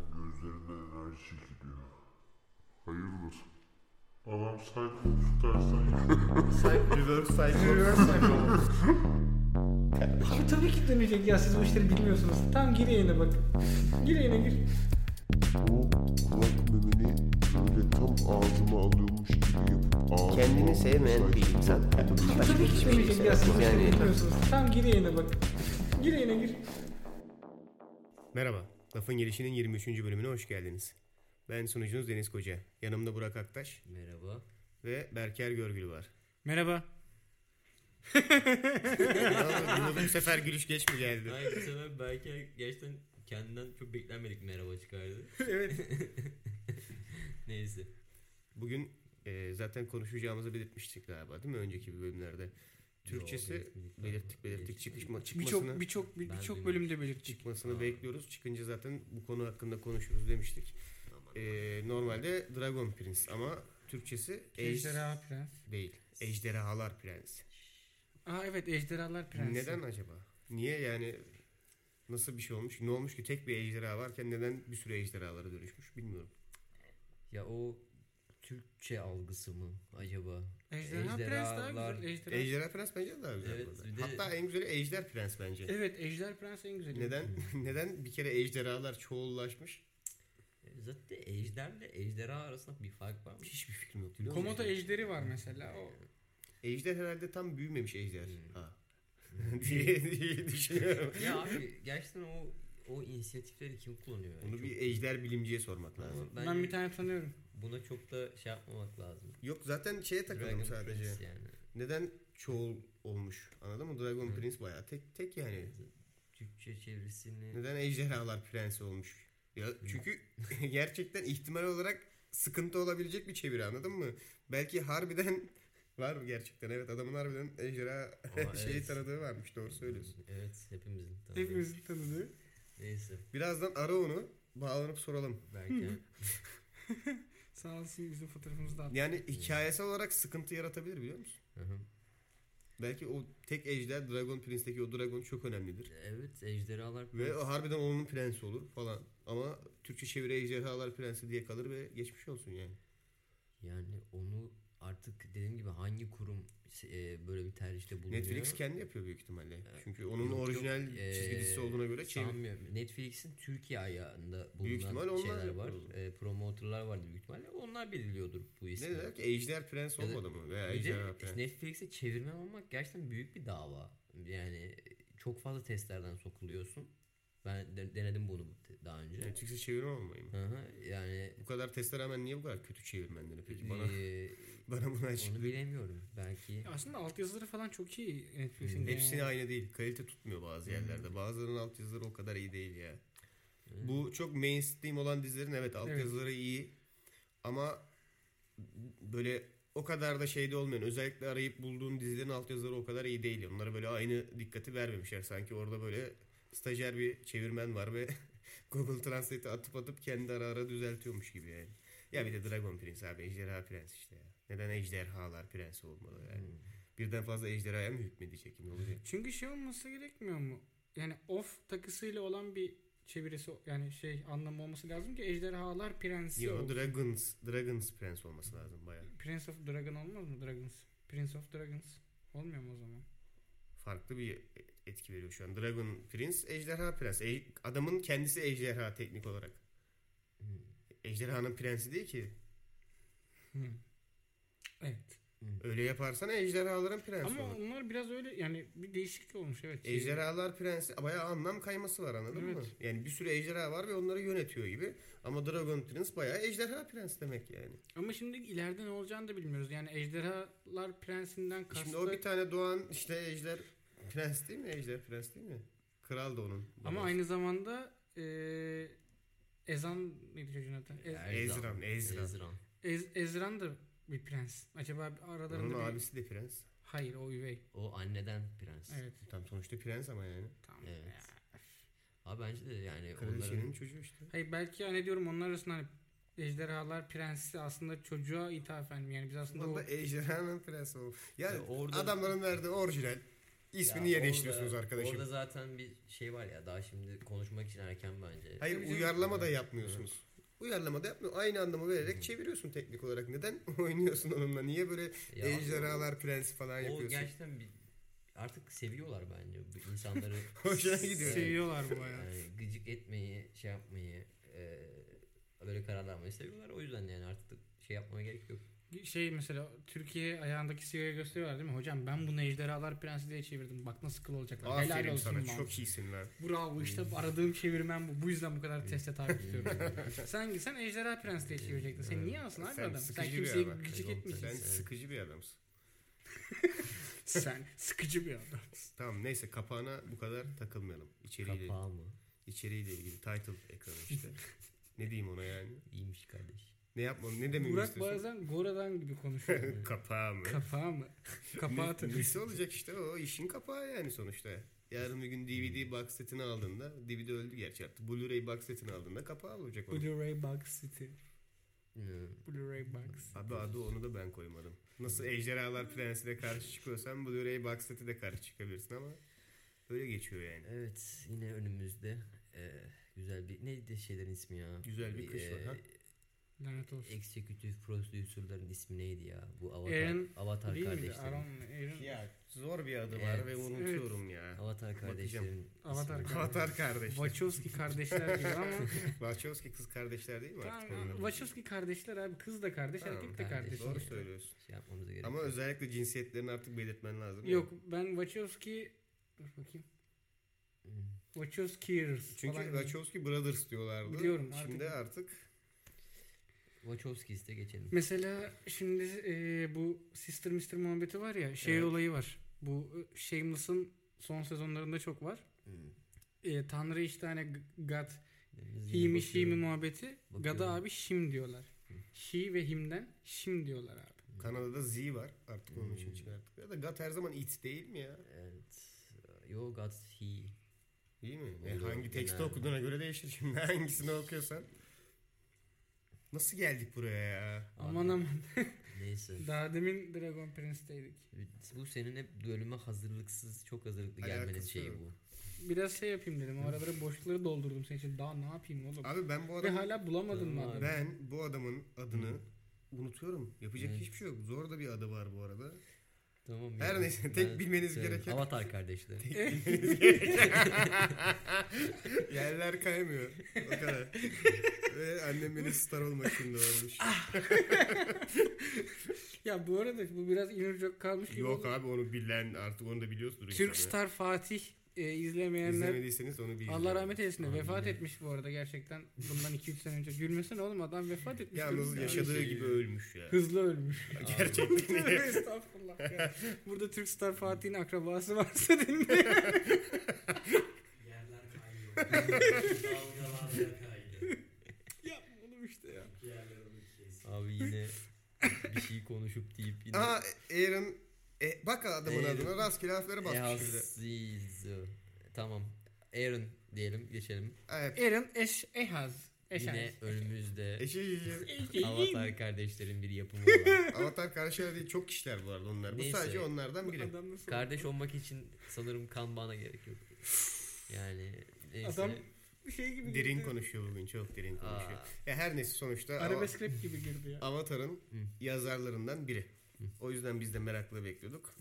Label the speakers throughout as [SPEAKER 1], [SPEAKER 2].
[SPEAKER 1] üzerinde enerji çekiliyor. Hayırdır? Adam saykomuş dersen
[SPEAKER 2] Reverse cycle.
[SPEAKER 3] Abi tabii ki dönecek ya siz bu işleri bilmiyorsunuz. Tamam gir yayına bak. Gir yayına gir.
[SPEAKER 1] O kulak memeni böyle tam ağzıma alıyormuş gibi yapıp ağzıma
[SPEAKER 4] Kendini sevmeyen bir
[SPEAKER 1] saykomuş.
[SPEAKER 4] insan.
[SPEAKER 3] Abi
[SPEAKER 4] Başka
[SPEAKER 3] tabii ki
[SPEAKER 4] hiçbir
[SPEAKER 3] dönecek
[SPEAKER 4] şey
[SPEAKER 3] ya
[SPEAKER 4] yok.
[SPEAKER 3] siz bu işleri
[SPEAKER 4] Yani
[SPEAKER 3] bilmiyorsunuz. Tamam gir yayına bak. Gir yayına gir.
[SPEAKER 5] Merhaba, Lafın Gelişi'nin 23. bölümüne hoş geldiniz. Ben sunucunuz Deniz Koca. Yanımda Burak Aktaş
[SPEAKER 6] Merhaba.
[SPEAKER 5] ve Berker Görgül var.
[SPEAKER 7] Merhaba.
[SPEAKER 5] Bu sefer gülüş geç mi geldi?
[SPEAKER 6] Hayır bu sefer belki gerçekten kendinden çok beklenmedik merhaba çıkardı.
[SPEAKER 5] evet.
[SPEAKER 6] Neyse.
[SPEAKER 5] Bugün e, zaten konuşacağımızı belirtmiştik galiba değil mi önceki bir bölümlerde? Türkçesi
[SPEAKER 6] belirtmedik.
[SPEAKER 5] belirttik belirttik çıkışma, çıkmasını,
[SPEAKER 7] Birçok birçok bir-
[SPEAKER 6] Ben
[SPEAKER 7] birçok
[SPEAKER 6] de
[SPEAKER 7] bölümde belirttik.
[SPEAKER 5] çıkmasını bekliyoruz. Çıkınca zaten bu konu hakkında konuşuruz demiştik. E, normalde Dragon Prince ama Türkçesi Ejderha
[SPEAKER 7] Ejderha Prens.
[SPEAKER 5] değil. Ejderhalar Prensi.
[SPEAKER 7] Aa evet Ejderhalar Prensi.
[SPEAKER 5] Neden acaba? Niye yani nasıl bir şey olmuş? Ne olmuş ki tek bir ejderha varken neden bir sürü ejderhalara dönüşmüş bilmiyorum.
[SPEAKER 6] Ya o Türkçe algısı mı acaba?
[SPEAKER 7] Ejderha Prens daha güzel. Ejderha...
[SPEAKER 5] Ejderha Prens bence de daha güzel.
[SPEAKER 6] Evet,
[SPEAKER 5] bu arada.
[SPEAKER 6] bir de-
[SPEAKER 5] Hatta en güzeli Ejder Prens bence.
[SPEAKER 7] Evet Ejder Prens en güzeli.
[SPEAKER 5] Neden neden bir kere ejderhalar çoğullaşmış?
[SPEAKER 6] E, Zaten ejderle ejderha arasında bir fark var mı?
[SPEAKER 5] Hiçbir fikrim yok. biliyor musun?
[SPEAKER 7] Komodo Ejderi var mesela. O
[SPEAKER 5] Ejder herhalde tam büyümemiş ejder.
[SPEAKER 6] Hmm.
[SPEAKER 5] Ha. diye, diye düşünüyorum.
[SPEAKER 6] ya abi gerçekten o o inisiyatifleri kim kullanıyor? Yani
[SPEAKER 5] Bunu
[SPEAKER 6] çok-
[SPEAKER 5] bir ejder bilimciye sormak
[SPEAKER 6] Ama
[SPEAKER 5] lazım.
[SPEAKER 6] bence
[SPEAKER 7] ben bir tane tanıyorum.
[SPEAKER 6] buna çok da şey yapmamak lazım.
[SPEAKER 5] Yok zaten şeye takıldım
[SPEAKER 6] Dragon
[SPEAKER 5] sadece.
[SPEAKER 6] Prince yani.
[SPEAKER 5] Neden çoğul olmuş? Anladın mı? Dragon Prince bayağı tek tek yani.
[SPEAKER 6] Türkçe çevirisini
[SPEAKER 5] Neden ejderhalar prensi olmuş? Ya çünkü gerçekten ihtimal olarak sıkıntı olabilecek bir çeviri anladın mı? Belki harbiden var mı gerçekten? Evet adamın harbiden ejderha
[SPEAKER 6] Aa,
[SPEAKER 5] şeyi
[SPEAKER 6] evet.
[SPEAKER 5] tanıdığı varmış doğru söylüyorsun.
[SPEAKER 6] Evet hepimizin tanıdığı.
[SPEAKER 7] Hepimizin tanıdığı.
[SPEAKER 6] Neyse
[SPEAKER 5] Birazdan ara onu bağlanıp soralım.
[SPEAKER 6] belki
[SPEAKER 7] Sağ olsun bizim fotoğrafımızı da attı.
[SPEAKER 5] Yani hikayesel olarak sıkıntı yaratabilir biliyor musun?
[SPEAKER 6] Hı hı.
[SPEAKER 5] Belki o tek ejder Dragon Prince'deki o dragon çok önemlidir.
[SPEAKER 6] Evet ejderhalar
[SPEAKER 5] Ve o harbiden onun prensi olur falan. Ama Türkçe çeviri ejderhalar prensi diye kalır ve geçmiş olsun yani.
[SPEAKER 6] Yani onu artık dediğim gibi hangi kurum e, böyle bir tercihte bulunuyor?
[SPEAKER 5] Netflix kendi yapıyor büyük ihtimalle. Çünkü onun
[SPEAKER 6] Yok, yok,
[SPEAKER 5] orijinal
[SPEAKER 6] e,
[SPEAKER 5] çizgi dizisi olduğuna göre çevir.
[SPEAKER 6] sanmıyorum. Netflix'in Türkiye ayağında bulunan
[SPEAKER 5] Büyük ihtimal onlar
[SPEAKER 6] şeyler var.
[SPEAKER 5] yapıyordur.
[SPEAKER 6] E, promotorlar vardı büyük ihtimalle. Onlar belirliyordur bu
[SPEAKER 5] Ne
[SPEAKER 6] ismi.
[SPEAKER 5] demek? Ejder Prens
[SPEAKER 6] Ya da-
[SPEAKER 5] olmadı mı? Veya
[SPEAKER 6] Bir de
[SPEAKER 5] Ejderha Prens.
[SPEAKER 6] Netflix'e çevirmen olmak gerçekten büyük bir dava. Yani çok fazla testlerden sokuluyorsun. Ben de- denedim bunu daha önce.
[SPEAKER 5] Netflix'e çevirme olmayı mı?
[SPEAKER 6] Hı hı, yani
[SPEAKER 5] Bu kadar teste rağmen niye bu kadar kötü çevirmenleri peki? Bana,
[SPEAKER 6] e,
[SPEAKER 5] bana bunu
[SPEAKER 6] onu
[SPEAKER 5] açıkla.
[SPEAKER 6] bilemiyorum. Belki
[SPEAKER 7] Aslında altyazıları falan çok iyi Netflix'in. genel
[SPEAKER 5] Hepsini
[SPEAKER 7] olarak.
[SPEAKER 5] aynı değil. Kalite tutmuyor bazı
[SPEAKER 6] Hmm.
[SPEAKER 5] yerlerde. Bazılarının altyazıları o kadar iyi değil ya. Bu çok mainstream olan dizilerin evet altyazıları iyi. Ama böyle o kadar da şeyde olmayan özellikle arayıp bulduğun dizilerin altyazıları o kadar iyi değil. Onlara böyle aynı dikkati vermemişler. Sanki orada böyle stajyer bir çevirmen var ve Google Translate'e atıp atıp kendi ara ara düzeltiyormuş gibi yani. Ya bir de Dragon Prince abi ejderha prens işte ya. Neden ejderhalar prensi olmalı yani?
[SPEAKER 6] Hmm.
[SPEAKER 5] Birden fazla ejderhaya mı hükmedecek? Ne olacak?
[SPEAKER 7] Çünkü şey olması gerekmiyor mu? Yani off takısıyla olan bir çevirisi yani şey anlamı olması lazım ki Ejderhalar Prensi
[SPEAKER 5] Yo,
[SPEAKER 7] olsun.
[SPEAKER 5] Dragons, Dragons Prince olması lazım bayağı.
[SPEAKER 7] Prince of Dragon olmaz mı Dragons? Prince of Dragons. Olmuyor mu o zaman?
[SPEAKER 5] Farklı bir etki veriyor şu an. Dragon Prince, Ejderha Prens. E- adamın kendisi ejderha teknik olarak. Ejderhanın prensi değil ki. Hmm.
[SPEAKER 7] Evet.
[SPEAKER 5] Öyle yaparsana ejderhaların prensi
[SPEAKER 7] Ama
[SPEAKER 5] olur.
[SPEAKER 7] onlar biraz öyle yani bir değişik olmuş evet.
[SPEAKER 5] Ejderhalar prensi bayağı anlam kayması var anladın
[SPEAKER 7] Evet.
[SPEAKER 5] mı? Yani bir sürü ejderha var ve onları yönetiyor gibi. Ama Dragon Prince bayağı ejderha prens demek yani.
[SPEAKER 7] Ama şimdi ileride ne olacağını da bilmiyoruz. Yani Ejderhalar Prensi'nden kastı.
[SPEAKER 5] E Şimdi o bir tane doğan işte ejder prens değil mi? Ejder prens değil mi? Kral da onun.
[SPEAKER 7] Ama aynı zamanda eee Ezan neydi çocuğun adı? Ez-
[SPEAKER 5] Ezran, Ezran.
[SPEAKER 6] Ezran.
[SPEAKER 7] Ez- Ezran da bir prens. Acaba aralarında
[SPEAKER 5] Onun
[SPEAKER 7] bir...
[SPEAKER 5] abisi de prens.
[SPEAKER 7] Hayır o üvey.
[SPEAKER 6] O anneden prens.
[SPEAKER 7] Evet.
[SPEAKER 5] Tam sonuçta prens ama yani.
[SPEAKER 7] Tamam.
[SPEAKER 6] Evet. Abi bence de
[SPEAKER 7] E,
[SPEAKER 6] yani
[SPEAKER 5] Kraliçenin
[SPEAKER 6] onların
[SPEAKER 5] çocuğu işte.
[SPEAKER 7] Hayır belki hani diyorum onlar arasında hani Ejderhalar Prensi aslında çocuğa ithafen mi? Yani biz aslında o...
[SPEAKER 5] Bunda ejderhanın prensi o. Yani
[SPEAKER 6] Ya orada-
[SPEAKER 5] adamların verdiği orijinal ismini
[SPEAKER 6] Ya
[SPEAKER 5] yer
[SPEAKER 6] orada-
[SPEAKER 5] değiştiriyorsunuz arkadaşım.
[SPEAKER 6] Orada zaten bir şey var ya daha şimdi konuşmak için erken bence.
[SPEAKER 5] Hayır uyarlama da yapmıyorsunuz. uyarlama da yapmıyor. Aynı anlamı vererek çeviriyorsun teknik olarak. Neden oynuyorsun onunla? Niye böyle
[SPEAKER 6] Ya,
[SPEAKER 5] ejderhalar prensi falan
[SPEAKER 6] O
[SPEAKER 5] yapıyorsun?
[SPEAKER 6] gerçekten bir, artık seviyorlar bence bu insanları.
[SPEAKER 5] Hoşuna gidiyor.
[SPEAKER 7] Seviyorlar bu bayağı.
[SPEAKER 6] Yani gıcık etmeyi, şey yapmayı, e, böyle kararlarmayı seviyorlar. O yüzden yani artık şey yapmaya gerek yok.
[SPEAKER 7] Şey mesela Türkiye ayağındaki sigarayı gösteriyorlar değil mi? Hocam ben bunu Ejderhalar Prensi diye çevirdim. Bak nasıl kıl olacaklar. Helal
[SPEAKER 5] Aferin
[SPEAKER 7] olsun
[SPEAKER 5] sana
[SPEAKER 7] bana.
[SPEAKER 5] çok iyisin lan.
[SPEAKER 7] Bravo işte aradığım çevirmen bu. Bu yüzden bu kadar teste tabi tutuyorum. sen, sen Ejderha Prensi diye çevirecektin. Sen niye alsın abi
[SPEAKER 5] Sen
[SPEAKER 7] adam? Sen
[SPEAKER 5] sıkıcı bir
[SPEAKER 7] kimseyi
[SPEAKER 5] adam.
[SPEAKER 7] gıcık
[SPEAKER 6] Sen-
[SPEAKER 7] etmişsin.
[SPEAKER 5] Sen
[SPEAKER 6] Evet.
[SPEAKER 5] sıkıcı bir adamsın.
[SPEAKER 7] Sen sıkıcı bir adam.
[SPEAKER 5] Tamam neyse kapağına bu kadar takılmayalım. İçeriğiyle,
[SPEAKER 6] Kapağı mı?
[SPEAKER 5] içeriğiyle ilgili title ekranı işte. ne diyeyim ona yani?
[SPEAKER 6] İyiymiş kardeş.
[SPEAKER 5] Ne yapmam ne dememi
[SPEAKER 7] Burak
[SPEAKER 5] istiyorsun?
[SPEAKER 7] bazen Gora'dan gibi konuşuyor.
[SPEAKER 5] Kapağı mı?
[SPEAKER 7] Kapağı mı? Kapağı
[SPEAKER 5] Ne-
[SPEAKER 7] atıyor.
[SPEAKER 5] Nesi olacak işte o işin kapağı yani sonuçta. Yarın bir gün DVD
[SPEAKER 7] Hmm.
[SPEAKER 5] box setini aldığında DVD öldü gerçi artık. Blu-ray box setini aldığında kapağı olacak onun.
[SPEAKER 7] Blu-ray Box City.
[SPEAKER 6] Hı.
[SPEAKER 7] Blu-ray Box.
[SPEAKER 5] Abi adı onu da ben koymadım. Nasıl Ejderhalar Prensi'ne karşı çıkıyorsan Blu-ray box seti de karşı çıkabilirsin ama öyle geçiyor yani.
[SPEAKER 6] Evet yine önümüzde e, güzel bir neydi şeylerin ismi ya? E,
[SPEAKER 5] Güzel bir kış var, ha?
[SPEAKER 7] Lanet olsun.
[SPEAKER 6] Executive Producer'ların ismi neydi ya? Bu Avatar,
[SPEAKER 7] Aaron
[SPEAKER 6] Avatar
[SPEAKER 7] Değil miydi?
[SPEAKER 6] kardeşlerin.
[SPEAKER 7] Aaron mu? Aaron.
[SPEAKER 5] Ya zor bir adı
[SPEAKER 6] Evet.
[SPEAKER 5] var ve unutuyorum ya.
[SPEAKER 6] Avatar kardeşlerin.
[SPEAKER 7] Avatar
[SPEAKER 6] ismi.
[SPEAKER 5] Avatar kardeş.
[SPEAKER 7] Wachowski kardeşler gibi ama
[SPEAKER 5] Wachowski kız kardeşler değil mi artık
[SPEAKER 7] tamam,
[SPEAKER 5] onlar?
[SPEAKER 7] Wachowski kardeşler abi kız da kardeş
[SPEAKER 5] Tamam,
[SPEAKER 7] erkek de kardeş.
[SPEAKER 6] kardeş.
[SPEAKER 5] Doğru söylüyorsun.
[SPEAKER 6] Şey yapmamıza gerek
[SPEAKER 5] Ama
[SPEAKER 6] yok.
[SPEAKER 5] özellikle cinsiyetlerini artık belirtmen lazım. ya.
[SPEAKER 7] Yok ben Wachowski dur bakayım.
[SPEAKER 6] Hı.
[SPEAKER 7] Wachowskiers
[SPEAKER 5] Çünkü
[SPEAKER 7] falan
[SPEAKER 5] Wachowski Brothers diyorlardı.
[SPEAKER 7] Biliyorum artık.
[SPEAKER 5] Şimdi artık
[SPEAKER 6] Wachowski's de geçelim.
[SPEAKER 7] Mesela şimdi e, bu Sister Mister muhabbeti var ya şey
[SPEAKER 5] Evet.
[SPEAKER 7] olayı var. Bu e, Shameless'ın son sezonlarında çok var.
[SPEAKER 5] Hmm.
[SPEAKER 6] Hı.
[SPEAKER 7] E, Tanrı iki tane g- God
[SPEAKER 6] Biz yine
[SPEAKER 7] Himi
[SPEAKER 6] bakıyorum.
[SPEAKER 7] Şimi muhabbeti.
[SPEAKER 6] Bakıyorum.
[SPEAKER 7] God'a abi Şim diyorlar. Şi ve Him'den Şim diyorlar abi.
[SPEAKER 5] Kanada'da Z var. Artık onun
[SPEAKER 6] Hmm.
[SPEAKER 5] için çıkarttık. Ya da God her zaman it değil mi ya?
[SPEAKER 6] Evet. Yo God He.
[SPEAKER 5] Değil mi?
[SPEAKER 6] Olur,
[SPEAKER 5] E, hangi teksti
[SPEAKER 6] genelde.
[SPEAKER 5] okuduğuna göre değişir şimdi. Hangisini okuyorsan. Nasıl geldik buraya ya?
[SPEAKER 7] Aman aman.
[SPEAKER 6] Neyse.
[SPEAKER 7] Daha demin Dragon Prince'teydik.
[SPEAKER 6] Bu senin hep bölüme hazırlıksız, çok hazırlıklı gelmenin
[SPEAKER 5] Alakası
[SPEAKER 6] şeyi
[SPEAKER 5] yok.
[SPEAKER 6] bu.
[SPEAKER 7] Biraz şey yapayım dedim. O araları boşlukları doldurdum senin için. Daha ne yapayım oğlum?
[SPEAKER 5] Abi ben bu
[SPEAKER 7] Ve
[SPEAKER 5] adamın,
[SPEAKER 7] hala bulamadım
[SPEAKER 6] Tamam
[SPEAKER 7] ben.
[SPEAKER 6] abi.
[SPEAKER 5] ben bu adamın adını unutuyorum. Yapacak
[SPEAKER 6] Hmm. Evet.
[SPEAKER 5] hiçbir şey yok. Zor da bir adı var bu arada.
[SPEAKER 6] Tamam.
[SPEAKER 5] Her
[SPEAKER 6] ya.
[SPEAKER 5] neyse, tek bilmeniz
[SPEAKER 6] Evet,
[SPEAKER 5] gereken-
[SPEAKER 6] Avatar kardeşleri.
[SPEAKER 5] Yerler kaymıyor. O kadar. Ve annem beni star olmak için doğurmuş.
[SPEAKER 7] Ya bu arada bu biraz inurcak kalmış gibi.
[SPEAKER 5] Yok
[SPEAKER 7] oldu.
[SPEAKER 5] abi onu bilen artık onu da biliyorsunuz.
[SPEAKER 7] Türk Star Fatih e, izlemeyenler
[SPEAKER 5] İzlemediyseniz onu bir
[SPEAKER 7] Allah rahmet eylesin de
[SPEAKER 6] Amin.
[SPEAKER 7] vefat etmiş bu arada gerçekten. Bundan 2-3 sene önce. Gülmesene oğlum adam vefat etmiş.
[SPEAKER 5] Yalnız
[SPEAKER 7] Gülmesene.
[SPEAKER 5] yaşadığı gibi ölmüş ya.
[SPEAKER 7] Hızlı ölmüş.
[SPEAKER 5] Gerçekten.
[SPEAKER 7] Estağfurullah ya. Burada Türk Star Fatih'in akrabası varsa dinle.
[SPEAKER 6] Yerler kayıyor. Dalgalar kayıyor.
[SPEAKER 7] Yapma oğlum işte ya.
[SPEAKER 6] Abi yine bir şey konuşup deyip yine
[SPEAKER 5] Aha Aaron e, bak adamın
[SPEAKER 6] Aaron.
[SPEAKER 5] adına rastgele
[SPEAKER 7] E,
[SPEAKER 5] harflere basmış şimdi.
[SPEAKER 6] Ehasizo. Tamam. Aaron diyelim geçelim.
[SPEAKER 5] Evet.
[SPEAKER 7] Aaron Eş Ehaz. Eşaz.
[SPEAKER 6] Yine önümüzde
[SPEAKER 5] Eşi- eşi-
[SPEAKER 6] Avatar kardeşlerin bir yapımı olan.
[SPEAKER 5] şey, Avatar karşıya değil çok kişiler bu arada onlar. Bu
[SPEAKER 6] Neyse.
[SPEAKER 5] sadece onlardan biri.
[SPEAKER 7] Adam nasıl?
[SPEAKER 6] Kardeş olmak için sanırım kan bağına gerek yok. Yani neyse.
[SPEAKER 7] Adam şey gibi
[SPEAKER 5] Derin
[SPEAKER 7] girdi.
[SPEAKER 5] konuşuyor bugün çok derin
[SPEAKER 6] Aa,
[SPEAKER 5] konuşuyor. Ya her neyse sonuçta Ava-
[SPEAKER 7] Arabesk rap gibi girdi ya.
[SPEAKER 5] Avatar'ın
[SPEAKER 6] Hı.
[SPEAKER 5] yazarlarından biri. O yüzden biz de merakla bekliyorduk.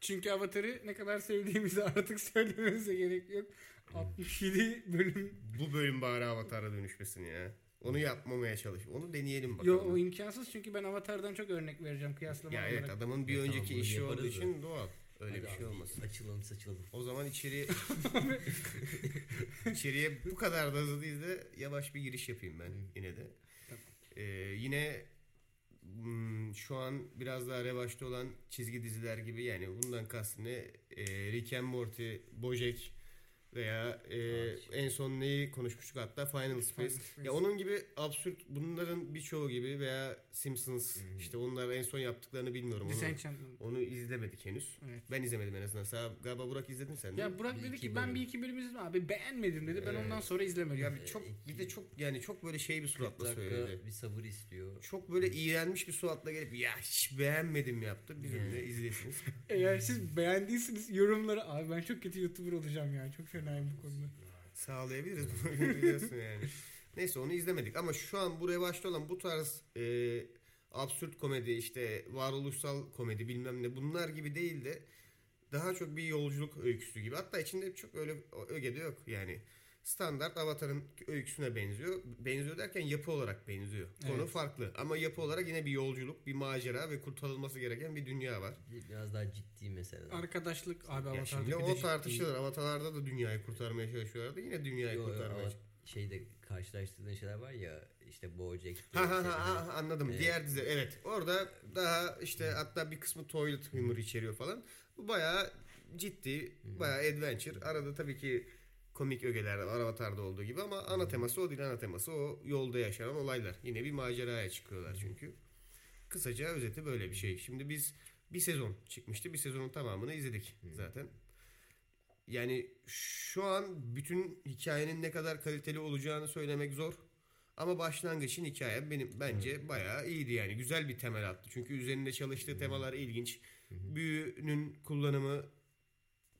[SPEAKER 7] Çünkü Avatar'ı ne kadar sevdiğimizi artık söylememize gerek yok. 67 bölüm.
[SPEAKER 5] Bu bölüm bari Avatar'a dönüşmesin ya. Onu yapmamaya çalış. Onu deneyelim
[SPEAKER 7] Yo o
[SPEAKER 5] bakalım.
[SPEAKER 7] imkansız çünkü ben Avatar'dan çok örnek vereceğim kıyaslama
[SPEAKER 5] ya
[SPEAKER 7] olarak.
[SPEAKER 5] evet adamın bir
[SPEAKER 6] Ya tamam,
[SPEAKER 5] önceki
[SPEAKER 6] bunu
[SPEAKER 5] işi
[SPEAKER 6] yaparız
[SPEAKER 5] olduğu
[SPEAKER 6] da.
[SPEAKER 5] için doğal. Öyle
[SPEAKER 6] hadi
[SPEAKER 5] bir şey
[SPEAKER 6] abi,
[SPEAKER 5] olmasın.
[SPEAKER 6] Açılalım saçılalım.
[SPEAKER 5] O zaman içeriye içeriye bu kadar da hızlı değil de yavaş bir giriş yapayım ben yine de. Ee, yine hmm, şu an biraz daha revaçta olan çizgi diziler gibi yani bundan kastım ne? Ee, Rick and Morty, Bojack veya e,
[SPEAKER 6] Evet.
[SPEAKER 5] en son neyi konuşmuştuk hatta Final Space. Ya onun gibi absürt bunların birçoğu gibi veya Simpsons işte onlar en son yaptıklarını bilmiyorum. Onu,
[SPEAKER 7] Disenchantment.
[SPEAKER 5] onu izlemedik henüz.
[SPEAKER 7] Evet.
[SPEAKER 5] Ben izlemedim en azından. Sen- Galiba Burak izledin sen. değil mi?
[SPEAKER 7] Ya Burak
[SPEAKER 6] Bir
[SPEAKER 7] dedi
[SPEAKER 6] iki
[SPEAKER 7] ki ben
[SPEAKER 6] bölüm.
[SPEAKER 7] bir iki bölüm izledim abi beğenmedim dedi. Ben
[SPEAKER 5] Evet.
[SPEAKER 7] ondan sonra izlemedim.
[SPEAKER 5] Ya bir çok bir de çok yani çok böyle şey bir suratla söyledi.
[SPEAKER 6] Dakika bir sabır istiyor.
[SPEAKER 5] Çok böyle iğrenmiş bir suratla gelip ya hiç beğenmedim yaptı. Bizim de izlesiniz.
[SPEAKER 7] Eğer siz beğendiyseniz yorumlara abi ben çok kötü YouTuber olacağım ya. Çok fenayım bu konuda.
[SPEAKER 5] Sağlayabiliriz bunu biliyorsun yani. Neyse onu izlemedik ama şu an bu revaçta olan bu tarz e, absürt komedi işte varoluşsal komedi bilmem ne bunlar gibi değil de daha çok bir yolculuk öyküsü gibi. Hatta içinde çok öyle öge de yok yani. Standart Avatar'ın öyküsüne benziyor. Benziyor derken yapı olarak benziyor. Konu
[SPEAKER 7] Evet.
[SPEAKER 5] farklı ama yapı olarak yine bir yolculuk, bir macera ve kurtarılması gereken bir dünya var.
[SPEAKER 6] Biraz daha ciddi mesela.
[SPEAKER 7] Arkadaşlık abi
[SPEAKER 5] Ya
[SPEAKER 7] Avatar'da
[SPEAKER 5] şimdi
[SPEAKER 7] bir
[SPEAKER 5] o
[SPEAKER 7] de
[SPEAKER 5] tartışılır. Avatarlarda da dünyayı kurtarmaya çalışıyorlardı. Yine dünyayı
[SPEAKER 6] Yo, yo,
[SPEAKER 5] kurtarmaya
[SPEAKER 6] ama şeyde karşılaştırdığın şeyler var ya işte Bojack'te
[SPEAKER 5] Ha ha
[SPEAKER 6] işte-
[SPEAKER 5] ha, ha anladım.
[SPEAKER 6] Şey Evet.
[SPEAKER 5] Diğer dizi evet. Orada daha işte hatta bir kısmı toilet humor içeriyor falan. Bu bayağı ciddi, bayağı adventure. Arada tabii ki komik ögeler var Avatar'da olduğu gibi ama ana teması o değil ana teması o yolda yaşanan olaylar. Yine bir maceraya çıkıyorlar çünkü. Kısaca özeti böyle bir şey. Şimdi biz bir sezon çıkmıştı. Bir sezonun tamamını izledik zaten. Yani şu an bütün hikayenin ne kadar kaliteli olacağını söylemek zor. Ama başlangıçın hikaye benim bence bayağı iyiydi yani. Güzel bir temel attı. Çünkü üzerinde çalıştığı temalar ilginç. Büyünün kullanımı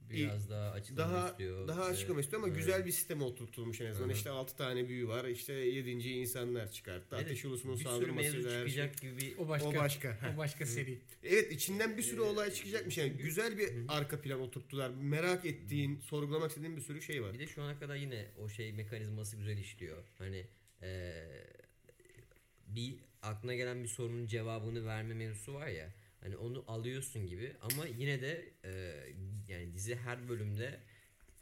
[SPEAKER 6] biraz daha açıklama
[SPEAKER 5] daha
[SPEAKER 6] istiyor.
[SPEAKER 5] daha
[SPEAKER 6] Ve-
[SPEAKER 5] açıklama istiyor ama
[SPEAKER 6] Evet.
[SPEAKER 5] güzel bir sisteme oturtulmuş en azından.
[SPEAKER 6] Hı hı.
[SPEAKER 5] İşte 6 tane büyü var. İşte 7. insanlar çıkarttı.
[SPEAKER 6] Ve de
[SPEAKER 5] Ateş ulusunun
[SPEAKER 6] bir sürü mevzu
[SPEAKER 5] saldırmasıyla her şey.
[SPEAKER 6] çıkacak gibi bir
[SPEAKER 7] O başka.
[SPEAKER 5] O başka.
[SPEAKER 7] O başka seri.
[SPEAKER 5] Evet içinden bir sürü
[SPEAKER 6] Ee,
[SPEAKER 5] olay çıkacakmış yani. Güzel bir arka plan oturttular. Merak ettiğin, sorgulamak istediğin bir sürü şey var.
[SPEAKER 6] Bir de şu ana kadar yine o şey mekanizması güzel işliyor. Hani eee, bir aklına gelen bir sorunun cevabını verme mevzusu var ya. Hani onu alıyorsun gibi ama yine de eee, yani dizi her bölümde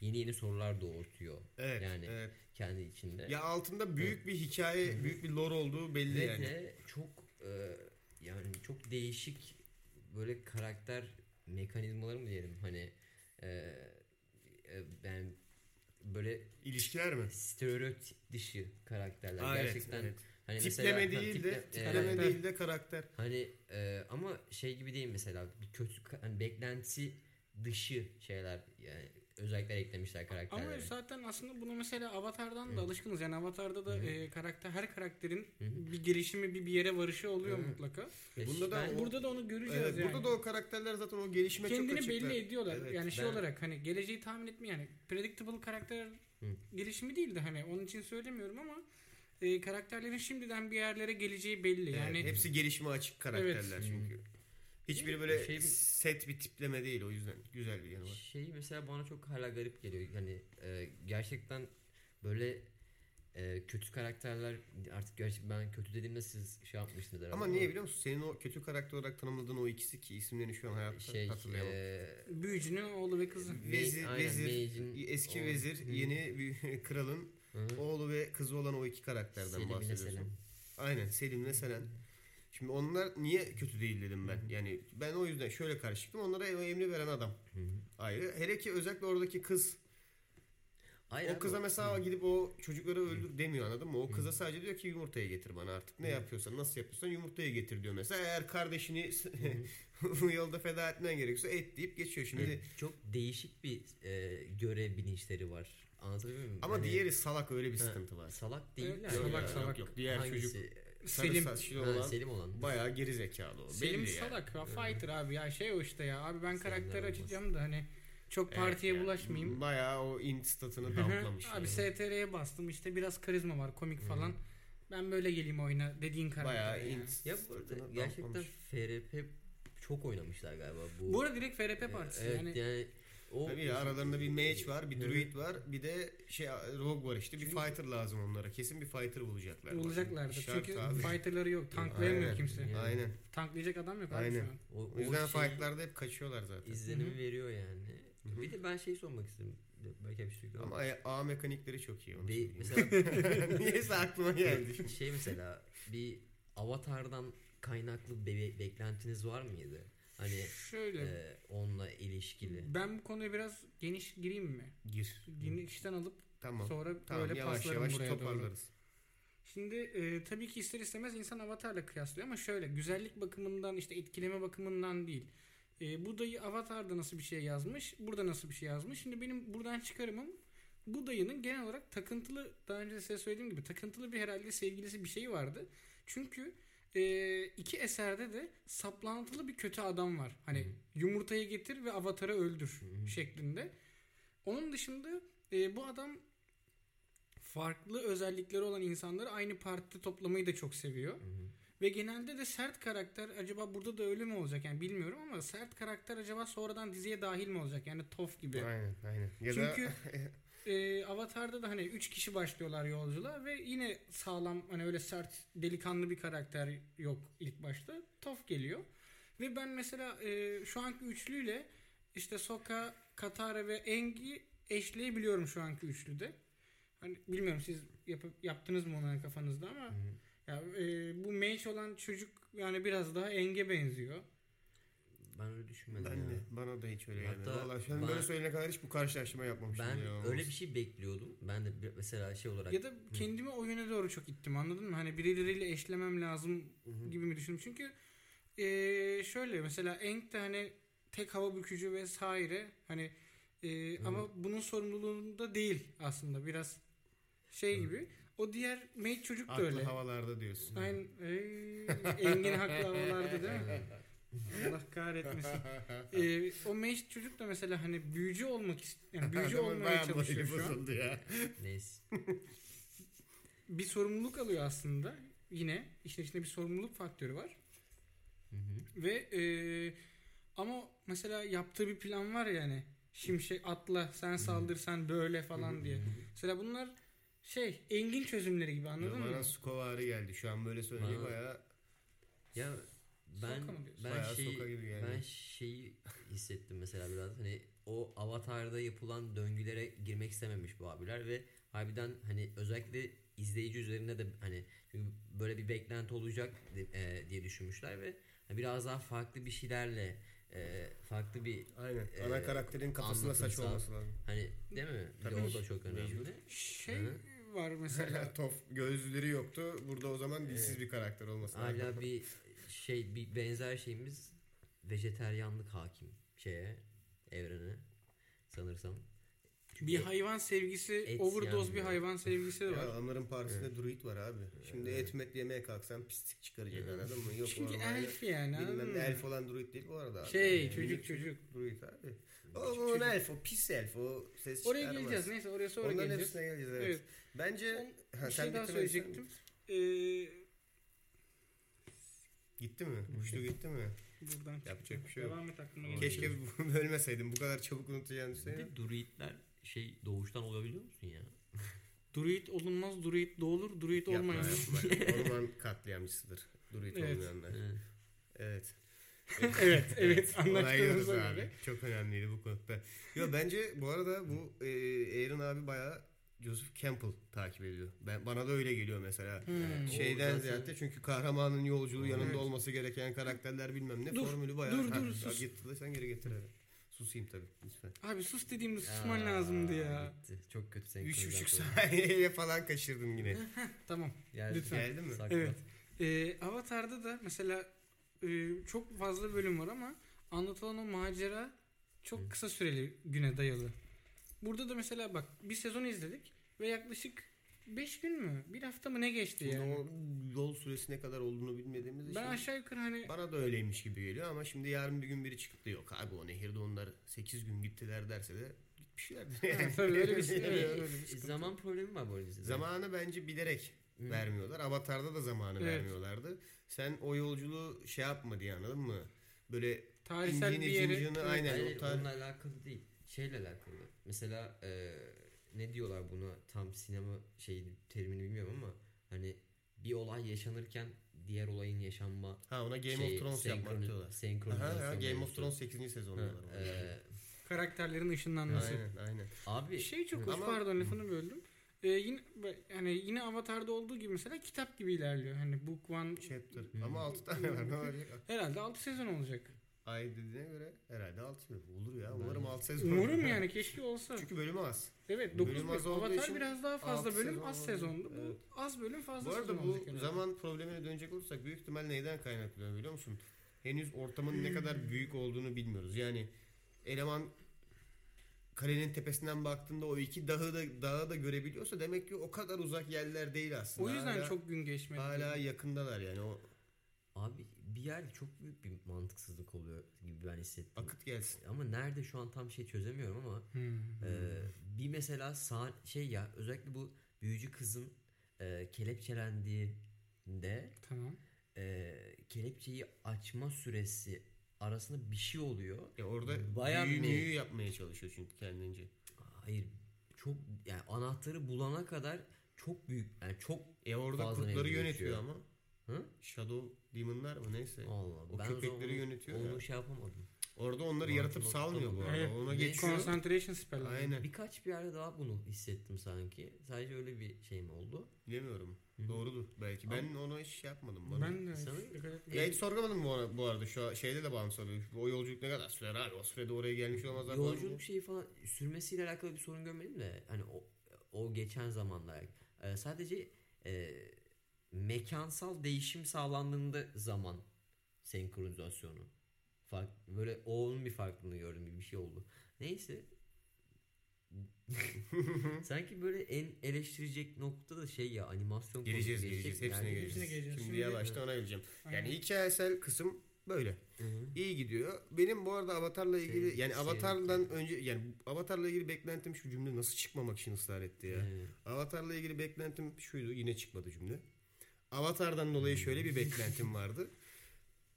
[SPEAKER 6] yeni yeni sorular doğurtuyor.
[SPEAKER 5] Evet.
[SPEAKER 6] yani
[SPEAKER 5] evet.
[SPEAKER 6] kendi içinde.
[SPEAKER 5] Ya altında büyük bir hikaye, büyük bir lore olduğu belli
[SPEAKER 6] Ve
[SPEAKER 5] yani.
[SPEAKER 6] de çok eee, yani çok değişik böyle karakter mekanizmaları mı diyelim hani eee, eee, ben böyle
[SPEAKER 5] İlişkiler mi?
[SPEAKER 6] stereotip dışı karakterler
[SPEAKER 5] Aa, evet,
[SPEAKER 6] gerçekten
[SPEAKER 5] evet.
[SPEAKER 6] hani
[SPEAKER 5] tipleme
[SPEAKER 6] mesela- ha,
[SPEAKER 5] değil
[SPEAKER 6] tiple-
[SPEAKER 5] de
[SPEAKER 6] e,
[SPEAKER 5] tipleme
[SPEAKER 6] evet.
[SPEAKER 5] değil de karakter.
[SPEAKER 6] hani e, ama şey gibi değil mesela bir kötü ka- hani beklenti dışı şeyler yani özellikler eklemişler
[SPEAKER 7] Ama
[SPEAKER 6] karakterlere.
[SPEAKER 7] zaten aslında bunu mesela Avatar'dan da alışkınız. Yani Avatar'da da
[SPEAKER 6] Hı.
[SPEAKER 7] e, karakter her karakterin
[SPEAKER 6] Hı.
[SPEAKER 7] bir gelişimi bir bir yere varışı oluyor
[SPEAKER 6] Hı.
[SPEAKER 7] mutlaka.
[SPEAKER 6] Ve
[SPEAKER 5] Bunda da
[SPEAKER 6] ben-
[SPEAKER 5] o-
[SPEAKER 7] Burada da onu
[SPEAKER 5] Evet,
[SPEAKER 7] göreceğiz yani.
[SPEAKER 5] Ee, Burada da o karakterler zaten o gelişime çok
[SPEAKER 7] kendini
[SPEAKER 5] açıklar.
[SPEAKER 7] belli ediyorlar.
[SPEAKER 5] Evet,
[SPEAKER 7] yani şey
[SPEAKER 6] ben-
[SPEAKER 7] olarak hani geleceği tahmin etme yani predictable karakter
[SPEAKER 6] Hı.
[SPEAKER 7] gelişimi değil de hani onun için söylemiyorum ama e, karakterlerin şimdiden bir yerlere geleceği belli. Yani
[SPEAKER 5] Evet, Ee, hepsi gelişime açık karakterler
[SPEAKER 6] Evet.
[SPEAKER 5] çünkü. Hiçbiri böyle
[SPEAKER 6] Hmm. Şey-
[SPEAKER 5] set bir tipleme değil o yüzden. Güzel bir yanı var.
[SPEAKER 6] şey mesela bana çok hala garip geliyor. Hani e, gerçekten böyle e, kötü karakterler artık gerçi ben kötü dediğimde siz şey yapmışsınız herhalde.
[SPEAKER 5] Ama niye biliyor musun? Senin o kötü karakter olarak tanımladığın o ikisi ki isimlerini şu an hayatta
[SPEAKER 6] şey
[SPEAKER 5] hatırlayamam.
[SPEAKER 6] e,
[SPEAKER 7] büyücünün oğlu ve kızı.
[SPEAKER 5] Vezir,
[SPEAKER 6] Aynen,
[SPEAKER 5] vezir,
[SPEAKER 6] Mage'in
[SPEAKER 5] eski
[SPEAKER 6] o-
[SPEAKER 5] vezir,
[SPEAKER 6] Hı.
[SPEAKER 5] yeni bir kralın
[SPEAKER 6] hı.
[SPEAKER 5] oğlu ve kızı olan o iki karakterden
[SPEAKER 6] Selim'ine
[SPEAKER 5] bahsediyorsun.
[SPEAKER 6] Selim.
[SPEAKER 5] Aynen Selim'le Selen. Şimdi onlar niye kötü değil dedim ben. Yani ben o yüzden şöyle karıştırdım. Onlara o emri veren adam. Ayrı. Hele ki özellikle oradaki kız.
[SPEAKER 6] Hayır abi,
[SPEAKER 5] o kıza mesela gidip o çocukları öldür demiyor anladın mı? O kıza sadece diyor ki yumurtayı getir bana artık. Ne yapıyorsan nasıl yapıyorsan yumurtayı getir diyor mesela. Eğer kardeşini bu yolda feda etmen gerekiyorsa et deyip geçiyor. Şimdi
[SPEAKER 6] Hani çok değişik bir e, görev bilinçleri var. Anlatabiliyor muyum?
[SPEAKER 5] ama
[SPEAKER 6] Hani
[SPEAKER 5] diğeri salak öyle bir
[SPEAKER 6] Ha.
[SPEAKER 5] sıkıntı var.
[SPEAKER 6] salak değil
[SPEAKER 7] Evet,
[SPEAKER 6] yani.
[SPEAKER 5] Yok,
[SPEAKER 7] salak,
[SPEAKER 5] yok,
[SPEAKER 7] salak.
[SPEAKER 5] Yok, Diğer
[SPEAKER 6] Hangisi?
[SPEAKER 5] çocuk sarı
[SPEAKER 7] Selim.
[SPEAKER 5] saçlı
[SPEAKER 6] Ha,
[SPEAKER 5] olan
[SPEAKER 6] Selim olan.
[SPEAKER 5] bayağı geri zekalı o.
[SPEAKER 7] Selim
[SPEAKER 5] Belli Ee, yani.
[SPEAKER 7] salak ya fighter abi ya şey o işte ya. Abi ben
[SPEAKER 6] Senden
[SPEAKER 7] karakter
[SPEAKER 6] olmaz.
[SPEAKER 7] açacağım da hani çok
[SPEAKER 5] Evet
[SPEAKER 7] partiye
[SPEAKER 5] yani.
[SPEAKER 7] bulaşmayayım.
[SPEAKER 5] Bayağı o int statını
[SPEAKER 7] Hı hı.
[SPEAKER 5] damplamış. yani.
[SPEAKER 7] Abi STR'ye bastım işte biraz karizma var komik falan. Ben böyle geleyim oyuna dediğin karakter.
[SPEAKER 5] Hmm. Bayağı
[SPEAKER 7] yani.
[SPEAKER 5] int
[SPEAKER 6] Ya bu arada
[SPEAKER 5] statını
[SPEAKER 6] gerçekten
[SPEAKER 5] damplamış.
[SPEAKER 6] FRP çok oynamışlar galiba bu.
[SPEAKER 7] Bu arada direkt FRP partisi
[SPEAKER 6] evet,
[SPEAKER 7] yani.
[SPEAKER 6] yani. o
[SPEAKER 5] Tabii ya, aralarında bir
[SPEAKER 7] Ee,
[SPEAKER 5] mage var, bir
[SPEAKER 6] Evet.
[SPEAKER 5] druid var, bir de şey rogue var işte. Bir fighter lazım onlara. Kesin bir fighter bulacaklar.
[SPEAKER 7] Olacaklardır.
[SPEAKER 5] Şart
[SPEAKER 7] Çünkü
[SPEAKER 5] abi.
[SPEAKER 7] fighterları yok. Tanklayamıyor
[SPEAKER 5] Aynen.
[SPEAKER 7] kimse.
[SPEAKER 6] Yani.
[SPEAKER 5] Aynen.
[SPEAKER 7] Tanklayacak adam yok abi
[SPEAKER 5] Aynen.
[SPEAKER 7] şu an.
[SPEAKER 6] o,
[SPEAKER 5] O yüzden
[SPEAKER 6] şey
[SPEAKER 5] fightlarda hep kaçıyorlar zaten.
[SPEAKER 6] izlenimi
[SPEAKER 7] Hı hı.
[SPEAKER 6] veriyor yani.
[SPEAKER 5] Hı hı.
[SPEAKER 6] Bir de ben şey sormak istedim. Belki bir şey yok
[SPEAKER 5] Ama A mekanikleri çok iyi. Onu
[SPEAKER 6] Be-
[SPEAKER 5] söyleyeyim.
[SPEAKER 6] mesela
[SPEAKER 5] Niyeyse aklıma geldi şimdi.
[SPEAKER 6] şey mesela bir avatardan kaynaklı be- beklentiniz var mıydı? Hani
[SPEAKER 7] Şöyle
[SPEAKER 6] e, onunla ilişkili.
[SPEAKER 7] ben bu konuya biraz geniş gireyim mi?
[SPEAKER 5] Gir.
[SPEAKER 7] Genişten alıp
[SPEAKER 5] Tamam.
[SPEAKER 7] sonra
[SPEAKER 5] Tamam
[SPEAKER 7] böyle
[SPEAKER 5] yavaş
[SPEAKER 7] paslarım
[SPEAKER 5] yavaş
[SPEAKER 7] buraya doğru.
[SPEAKER 5] toparlarız.
[SPEAKER 7] Şimdi e, tabii ki ister istemez insan avatarla kıyaslıyor ama şöyle güzellik bakımından işte etkileme bakımından değil. E, Buda'yı avatarda nasıl bir şey yazmış, burada nasıl bir şey yazmış. Şimdi benim buradan çıkarımım Buda'yının genel olarak takıntılı daha önce size söylediğim gibi takıntılı bir herhalde sevgilisi bir şey vardı. Çünkü e, iki eserde de saplantılı bir kötü adam var. Hani yumurtayı getir ve avatarı öldür şeklinde. Onun dışında e, bu adam farklı özellikleri olan insanları aynı partide toplamayı da çok seviyor. Ve genelde de sert karakter acaba burada da öyle mi olacak yani bilmiyorum ama sert karakter acaba sonradan diziye dahil mi olacak? Yani Tof gibi.
[SPEAKER 5] Aynen aynen. Ya
[SPEAKER 7] Çünkü
[SPEAKER 5] da
[SPEAKER 7] e, Avatar'da da hani 3 kişi başlıyorlar yolculuğa ve yine sağlam hani öyle sert delikanlı bir karakter yok ilk başta. Tof geliyor. Ve ben mesela e, şu anki üçlüyle işte Soka, Katara ve Engi eşleyebiliyorum şu anki üçlüde. Hani bilmiyorum siz yapı- yaptınız mı onu kafanızda ama ya e, bu mage olan çocuk yani biraz daha Eng'e benziyor.
[SPEAKER 6] Ben öyle düşünmedim
[SPEAKER 5] ben
[SPEAKER 6] ya.
[SPEAKER 5] de bana da hiç öyle yani.
[SPEAKER 6] Hatta
[SPEAKER 5] Valla şu an
[SPEAKER 6] ben-
[SPEAKER 5] böyle söyleyene kadar hiç bu karşılaşma yapmamıştım
[SPEAKER 6] Ben
[SPEAKER 5] ya.
[SPEAKER 6] öyle bir şey bekliyordum. Ben de bir- mesela şey olarak
[SPEAKER 7] Ya da kendimi o yöne doğru çok ittim anladın mı? Hani birileriyle eşlemem lazım gibi mi düşündüm? Çünkü eee, şöyle mesela Enk de hani tek hava bükücü vesaire hani eee, ama bunun sorumluluğunda değil aslında biraz şey gibi. O diğer mate çocuk da
[SPEAKER 5] Aklı
[SPEAKER 7] öyle.
[SPEAKER 5] havalarda diyorsun.
[SPEAKER 7] Aynen. Ey, Engin haklı havalarda değil mi? Allah kahretmesin. Eee, o mage çocuk da mesela hani büyücü olmak ist- yani büyücü
[SPEAKER 5] Adamın
[SPEAKER 7] olmaya
[SPEAKER 5] bayağı morali
[SPEAKER 7] çalışıyor şu an
[SPEAKER 5] bozuldu ya.
[SPEAKER 6] neyse.
[SPEAKER 7] bir sorumluluk alıyor aslında. Yine işin içinde bir sorumluluk faktörü var. Ve e, ama mesela yaptığı bir plan var yani. Şimşek atla sen saldır sen böyle falan diye. Mesela bunlar şey engin çözümleri gibi anladın
[SPEAKER 5] Bana
[SPEAKER 7] mı?
[SPEAKER 5] skovari geldi. Şu an böyle söyleyince
[SPEAKER 6] Bana-
[SPEAKER 5] bayağı
[SPEAKER 6] Ya ben
[SPEAKER 7] Soka mı diyorsun?
[SPEAKER 6] ben
[SPEAKER 5] Bayağı
[SPEAKER 6] şeyi
[SPEAKER 5] soka gibi geldi.
[SPEAKER 7] şey-
[SPEAKER 6] ben şeyi hissettim mesela biraz hani o avatarda yapılan döngülere girmek istememiş bu abiler ve harbiden hani özellikle izleyici üzerinde de hani çünkü böyle bir beklenti olacak e, diye düşünmüşler ve hani biraz daha farklı bir şeylerle e, farklı bir
[SPEAKER 5] Aynen.
[SPEAKER 6] Ee,
[SPEAKER 5] Ana karakterin kafasında saç
[SPEAKER 6] anlatımsal.
[SPEAKER 5] olması lazım.
[SPEAKER 6] hani değil mi? Bir de
[SPEAKER 5] Tabii.
[SPEAKER 6] o da çok
[SPEAKER 5] Mecbur.
[SPEAKER 6] önemli.
[SPEAKER 7] Şey var mesela.
[SPEAKER 5] Tof gözleri yoktu. Burada o zaman dilsiz bir karakter olması lazım.
[SPEAKER 6] Hala bir şey bir benzer şeyimiz vejeteryanlık hakim şeye evrene sanırsam. Çünkü
[SPEAKER 7] bir hayvan sevgisi,
[SPEAKER 6] Et
[SPEAKER 7] overdose bir
[SPEAKER 6] yani.
[SPEAKER 7] hayvan sevgisi de
[SPEAKER 5] Ya
[SPEAKER 7] şey var.
[SPEAKER 5] onların Paris'inde druid var abi. Şimdi et met yemeye kalksan pislik çıkaracak anladın mı? Yok
[SPEAKER 7] Çünkü
[SPEAKER 5] o arada-
[SPEAKER 7] elf yani. anladın
[SPEAKER 5] Bilmem
[SPEAKER 7] mı?
[SPEAKER 5] ne elf olan druid değil bu arada abi.
[SPEAKER 7] Şey
[SPEAKER 5] Yani
[SPEAKER 7] çocuk
[SPEAKER 5] minik
[SPEAKER 7] çocuk.
[SPEAKER 5] Druid abi. O, o elf o pis elf o ses
[SPEAKER 7] Oraya
[SPEAKER 5] çıkarmaz.
[SPEAKER 7] geleceğiz neyse oraya sonra
[SPEAKER 5] Onların
[SPEAKER 7] geleceğiz.
[SPEAKER 5] hepsine geleceğiz evet.
[SPEAKER 7] Evet.
[SPEAKER 5] Bence
[SPEAKER 7] Bir şey daha
[SPEAKER 5] bitirirsen-
[SPEAKER 7] söyleyecektim. Ee,
[SPEAKER 5] Gitti mi? Uçtu gitti mi?
[SPEAKER 7] Buradan
[SPEAKER 5] Yapacak bir şey yok.
[SPEAKER 7] Devam et aklıma gelen.
[SPEAKER 5] Keşke bu- bölmeseydim. Bu kadar çabuk unutacağını
[SPEAKER 6] Bir
[SPEAKER 5] düşünüyorum.
[SPEAKER 6] de druidler şey doğuştan olabiliyor musun ya?
[SPEAKER 7] Druid olunmaz, druid doğulur, druid
[SPEAKER 5] Yapma
[SPEAKER 7] olmayan.
[SPEAKER 5] yapma. Orman katliamcısıdır. Druid
[SPEAKER 7] Evet.
[SPEAKER 5] olmayanlar.
[SPEAKER 6] Evet.
[SPEAKER 5] Evet.
[SPEAKER 7] evet, evet.
[SPEAKER 5] Onaylıyoruz
[SPEAKER 7] Anlaştığımıza
[SPEAKER 5] abi.
[SPEAKER 7] göre.
[SPEAKER 5] Çok önemliydi bu konuda. Yo bence bu arada bu e, Aaron abi bayağı Joseph Campbell takip ediyor. Ben bana da öyle geliyor mesela.
[SPEAKER 7] Hmm.
[SPEAKER 5] Şeyden
[SPEAKER 6] O zaten-
[SPEAKER 5] ziyade çünkü kahramanın yolculuğu yanında
[SPEAKER 7] Evet.
[SPEAKER 5] olması gereken karakterler bilmem ne
[SPEAKER 7] Dur,
[SPEAKER 5] formülü bayağı.
[SPEAKER 7] dur,
[SPEAKER 5] Ha,
[SPEAKER 7] dur,
[SPEAKER 5] ya
[SPEAKER 7] sus.
[SPEAKER 5] Git de sen geri getir abi. Susayım tabii lütfen.
[SPEAKER 7] Abi sus dediğimde susman lazımdı ya.
[SPEAKER 6] Gitti. Çok kötü sen.
[SPEAKER 5] Üç buçuk saniyeye falan kaçırdım yine.
[SPEAKER 7] Tamam. Lütfen.
[SPEAKER 5] Geldi mi?
[SPEAKER 7] Evet. Ee, Avatar'da da mesela e, çok fazla bölüm var ama anlatılan o macera çok kısa süreli güne dayalı. Burada da mesela bak bir sezon izledik ve yaklaşık 5 gün mü? Bir hafta mı ne geçti yani?
[SPEAKER 5] O şey- yol süresi ne kadar olduğunu bilmediğimiz için.
[SPEAKER 7] Ben aşağı yukarı hani
[SPEAKER 5] Bana da öyleymiş gibi geliyor ama şimdi yarın bir gün biri çıkıp da yok abi o nehirde onlar 8 gün gittiler derse de gitmişlerdir.
[SPEAKER 7] Ha, tabii öyle bir, şey, evet, öyle bir sıkıntı.
[SPEAKER 6] E, Zaman problemi var bu arada dizide.
[SPEAKER 5] Zamanı bence bilerek vermiyorlar. Avatar'da da zamanı
[SPEAKER 7] Evet.
[SPEAKER 5] vermiyorlardı. Sen o yolculuğu şey yapma diye anladın mı? Böyle
[SPEAKER 7] tarihsel Hani bir
[SPEAKER 5] incini
[SPEAKER 7] yere
[SPEAKER 5] cincini aynen
[SPEAKER 6] Hayır,
[SPEAKER 5] o tar-
[SPEAKER 6] onunla alakalı değil. Şeyle alakalı. Mesela e, ne diyorlar buna tam sinema şey terimini bilmiyorum ama hani bir olay yaşanırken diğer olayın yaşanma
[SPEAKER 5] Ha ona Game
[SPEAKER 7] şey
[SPEAKER 6] şeyi,
[SPEAKER 5] of Thrones yapmak
[SPEAKER 6] senkroni-
[SPEAKER 5] diyorlar.
[SPEAKER 6] senkronizasyon
[SPEAKER 5] Aha, ha, Game of
[SPEAKER 6] mevzusu.
[SPEAKER 5] Thrones 8.
[SPEAKER 6] Ha,
[SPEAKER 5] sezondalar. var.
[SPEAKER 6] e,
[SPEAKER 7] karakterlerin ışınlanması.
[SPEAKER 5] Aynen aynen.
[SPEAKER 6] abi
[SPEAKER 7] Şey çok hoş
[SPEAKER 5] Ama-
[SPEAKER 7] pardon lafını böldüm. Ee, yine yani yine Avatar'da olduğu gibi mesela kitap gibi ilerliyor. Hani Book One
[SPEAKER 5] Chapter. Ama 6 tane var. Ne olacak?
[SPEAKER 7] herhalde 6 sezon olacak.
[SPEAKER 5] Ay dediğine göre herhalde 6 sezon. Olur ya. Umarım 6 sezon.
[SPEAKER 7] Umarım yani keşke olsa.
[SPEAKER 5] Çünkü bölümü az.
[SPEAKER 7] evet
[SPEAKER 5] bölüm
[SPEAKER 7] 9
[SPEAKER 5] az olduğu
[SPEAKER 7] Avatar
[SPEAKER 5] için
[SPEAKER 7] biraz daha fazla
[SPEAKER 5] altı
[SPEAKER 7] bölüm
[SPEAKER 5] sezon
[SPEAKER 7] az
[SPEAKER 5] olabilir.
[SPEAKER 7] sezondu.
[SPEAKER 5] Evet.
[SPEAKER 7] Bu az bölüm fazla
[SPEAKER 5] Bu
[SPEAKER 7] sezon
[SPEAKER 5] arada
[SPEAKER 7] olacak.
[SPEAKER 5] bu
[SPEAKER 7] herhalde.
[SPEAKER 5] zaman problemine dönecek olursak büyük ihtimal neyden kaynaklanıyor biliyor musun? Henüz ortamın ne kadar büyük olduğunu bilmiyoruz. Yani eleman kalenin tepesinden baktığında o iki dağı da, dağı da görebiliyorsa demek ki o kadar uzak yerler değil aslında.
[SPEAKER 7] o yüzden
[SPEAKER 5] Hala-
[SPEAKER 7] çok gün geçmedi.
[SPEAKER 5] hala yakındalar yani o
[SPEAKER 6] abi bir yerde çok büyük bir mantıksızlık oluyor gibi ben hissettim.
[SPEAKER 5] akıt gelsin.
[SPEAKER 6] Ama nerede şu an tam şey çözemiyorum ama
[SPEAKER 7] Hmm.
[SPEAKER 6] e, bir mesela sah- şey ya özellikle bu büyücü kızın e, kelepçelendiğinde
[SPEAKER 7] Tamam.
[SPEAKER 6] e, kelepçeyi açma süresi arasında bir şey oluyor.
[SPEAKER 5] Ya orada
[SPEAKER 6] Bayağı
[SPEAKER 5] büyü
[SPEAKER 6] bir-
[SPEAKER 5] müyü yapmaya çalışıyor çünkü kendince.
[SPEAKER 6] Hayır çok yani anahtarı bulana kadar çok büyük yani çok
[SPEAKER 5] E orada
[SPEAKER 6] Bazen
[SPEAKER 5] kurtları
[SPEAKER 6] elini
[SPEAKER 5] yönetiyor
[SPEAKER 6] geçiyor.
[SPEAKER 5] ama.
[SPEAKER 6] Hı?
[SPEAKER 5] Shadow Demon'lar mı neyse.
[SPEAKER 6] Allah
[SPEAKER 5] O
[SPEAKER 6] ben
[SPEAKER 5] köpekleri
[SPEAKER 6] zaman onu-
[SPEAKER 5] yönetiyor
[SPEAKER 6] Onu
[SPEAKER 5] ya.
[SPEAKER 6] şey yapamadım.
[SPEAKER 5] Orada onları
[SPEAKER 6] Martin
[SPEAKER 5] yaratıp
[SPEAKER 6] Luther
[SPEAKER 5] salmıyor bu
[SPEAKER 6] King.
[SPEAKER 5] arada.
[SPEAKER 7] Evet.
[SPEAKER 5] Ona
[SPEAKER 6] Ne?
[SPEAKER 5] geçiyor.
[SPEAKER 7] Concentration spell'leri.
[SPEAKER 5] Aynen.
[SPEAKER 6] Birkaç bir yerde daha bunu hissettim sanki. Sadece öyle bir şey mi oldu?
[SPEAKER 5] Bilemiyorum.
[SPEAKER 6] Hı.
[SPEAKER 5] Doğrudur belki. Ben ona hiç şey yapmadım. Bana.
[SPEAKER 7] Ben de hiç
[SPEAKER 6] Sanırım-
[SPEAKER 7] dikkat etmedim.
[SPEAKER 5] Ya hiç sorgulamadım bu, ara- bu arada. Şu an şeyde de bağım soruyor. O yolculuk ne kadar sürer abi? O sürede oraya gelmiş olmazlar. falan diye.
[SPEAKER 6] Yolculuk şeyi falan sürmesiyle alakalı bir sorun görmedim de hani o, o geçen zamanda Ee, sadece e, mekansal değişim sağlandığında zaman senkronizasyonu fark böyle onun bir farklılığını gördüm gibi bir şey oldu. Neyse sanki böyle en eleştirecek nokta da şey ya animasyon konusu
[SPEAKER 5] Geleceğiz
[SPEAKER 6] geçecek.
[SPEAKER 5] geleceğiz. Hepsine
[SPEAKER 6] Yani-
[SPEAKER 5] geleceğiz.
[SPEAKER 3] hepsine geleceğiz.
[SPEAKER 5] Şimdi,
[SPEAKER 3] Şimdi-
[SPEAKER 5] yavaştan ona geleceğim.
[SPEAKER 7] Aynen.
[SPEAKER 5] Yani hikayesel kısım böyle.
[SPEAKER 6] Hı hı.
[SPEAKER 5] İyi gidiyor. Benim bu arada Avatar'la ilgili
[SPEAKER 6] Sev-
[SPEAKER 5] yani
[SPEAKER 6] sevdim.
[SPEAKER 5] Avatar'dan önce yani Avatar'la ilgili beklentim şu cümle nasıl çıkmamak için ısrar etti ya.
[SPEAKER 6] Evet.
[SPEAKER 5] Avatar'la ilgili beklentim şuydu. Yine çıkmadı cümle. Avatar'dan dolayı şöyle bir beklentim vardı.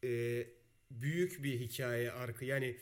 [SPEAKER 5] Ee, büyük bir hikaye arkı yani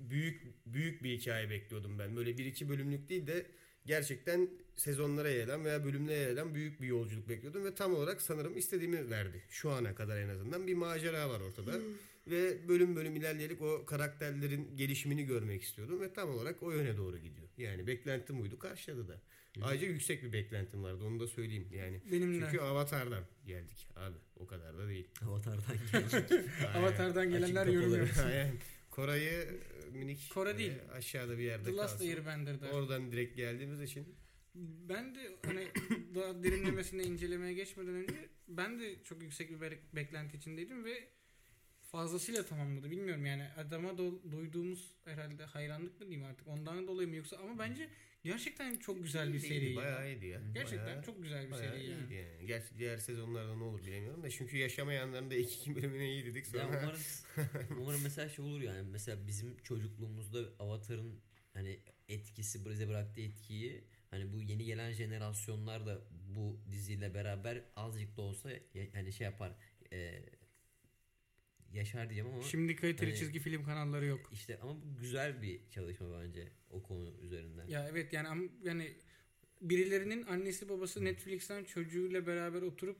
[SPEAKER 5] büyük büyük bir hikaye bekliyordum ben. Böyle bir iki bölümlük değil de gerçekten sezonlara yayılan veya bölümlere yayılan büyük bir yolculuk bekliyordum ve tam olarak sanırım istediğimi verdi. Şu ana kadar en azından bir macera var ortada ve bölüm bölüm ilerleyerek o karakterlerin gelişimini görmek istiyordum ve tam olarak o yöne doğru gidiyor. Yani beklentim buydu karşıladı da. Ayrıca yüksek bir beklentim vardı onu da söyleyeyim yani.
[SPEAKER 7] Benim de.
[SPEAKER 5] Çünkü Avatar'dan geldik abi o kadar da değil.
[SPEAKER 6] Avatar'dan geleceğiz.
[SPEAKER 7] Avatar'dan gelenler yorumluyor.
[SPEAKER 5] Aynen. Koray'ı e, minik
[SPEAKER 7] Kore
[SPEAKER 5] e,
[SPEAKER 7] değil.
[SPEAKER 5] aşağıda bir yerde
[SPEAKER 7] The Last
[SPEAKER 5] kalsın.
[SPEAKER 7] Airbender'da.
[SPEAKER 5] Oradan direkt geldiğimiz için
[SPEAKER 7] Ben de hani daha derinlemesine incelemeye geçmeden önce ben de çok yüksek bir bek- beklenti içindeydim ve fazlasıyla tamamladı. Bilmiyorum yani adama do- duyduğumuz herhalde hayranlık mı diyeyim artık ondan dolayı mı yoksa ama bence gerçekten çok güzel bir
[SPEAKER 5] İyiydi,
[SPEAKER 7] seri.
[SPEAKER 5] Bayağı iyiydi ya.
[SPEAKER 7] Gerçekten
[SPEAKER 5] Bayağı-
[SPEAKER 7] çok güzel bir
[SPEAKER 5] bayağı
[SPEAKER 7] seri yani.
[SPEAKER 5] iyiydi yani. Gerçi diğer sezonlarda ne olur bilemiyorum da çünkü yaşamayanların da iki iki bölümüne iyi dedik
[SPEAKER 6] Ya
[SPEAKER 5] sonra.
[SPEAKER 6] umarım, umarım mesela şey olur yani mesela bizim çocukluğumuzda Avatar'ın hani etkisi bize bıraktığı etkiyi hani bu yeni gelen jenerasyonlar da bu diziyle beraber azıcık da olsa ya- hani şey yapar e, yaşar diyeceğim ama
[SPEAKER 7] Şimdi kaliteli
[SPEAKER 6] Hani-
[SPEAKER 7] çizgi film kanalları yok.
[SPEAKER 6] işte ama bu güzel bir çalışma bence o konu üzerinden.
[SPEAKER 7] Ya evet yani am- yani birilerinin annesi babası Netflix'ten çocuğuyla beraber oturup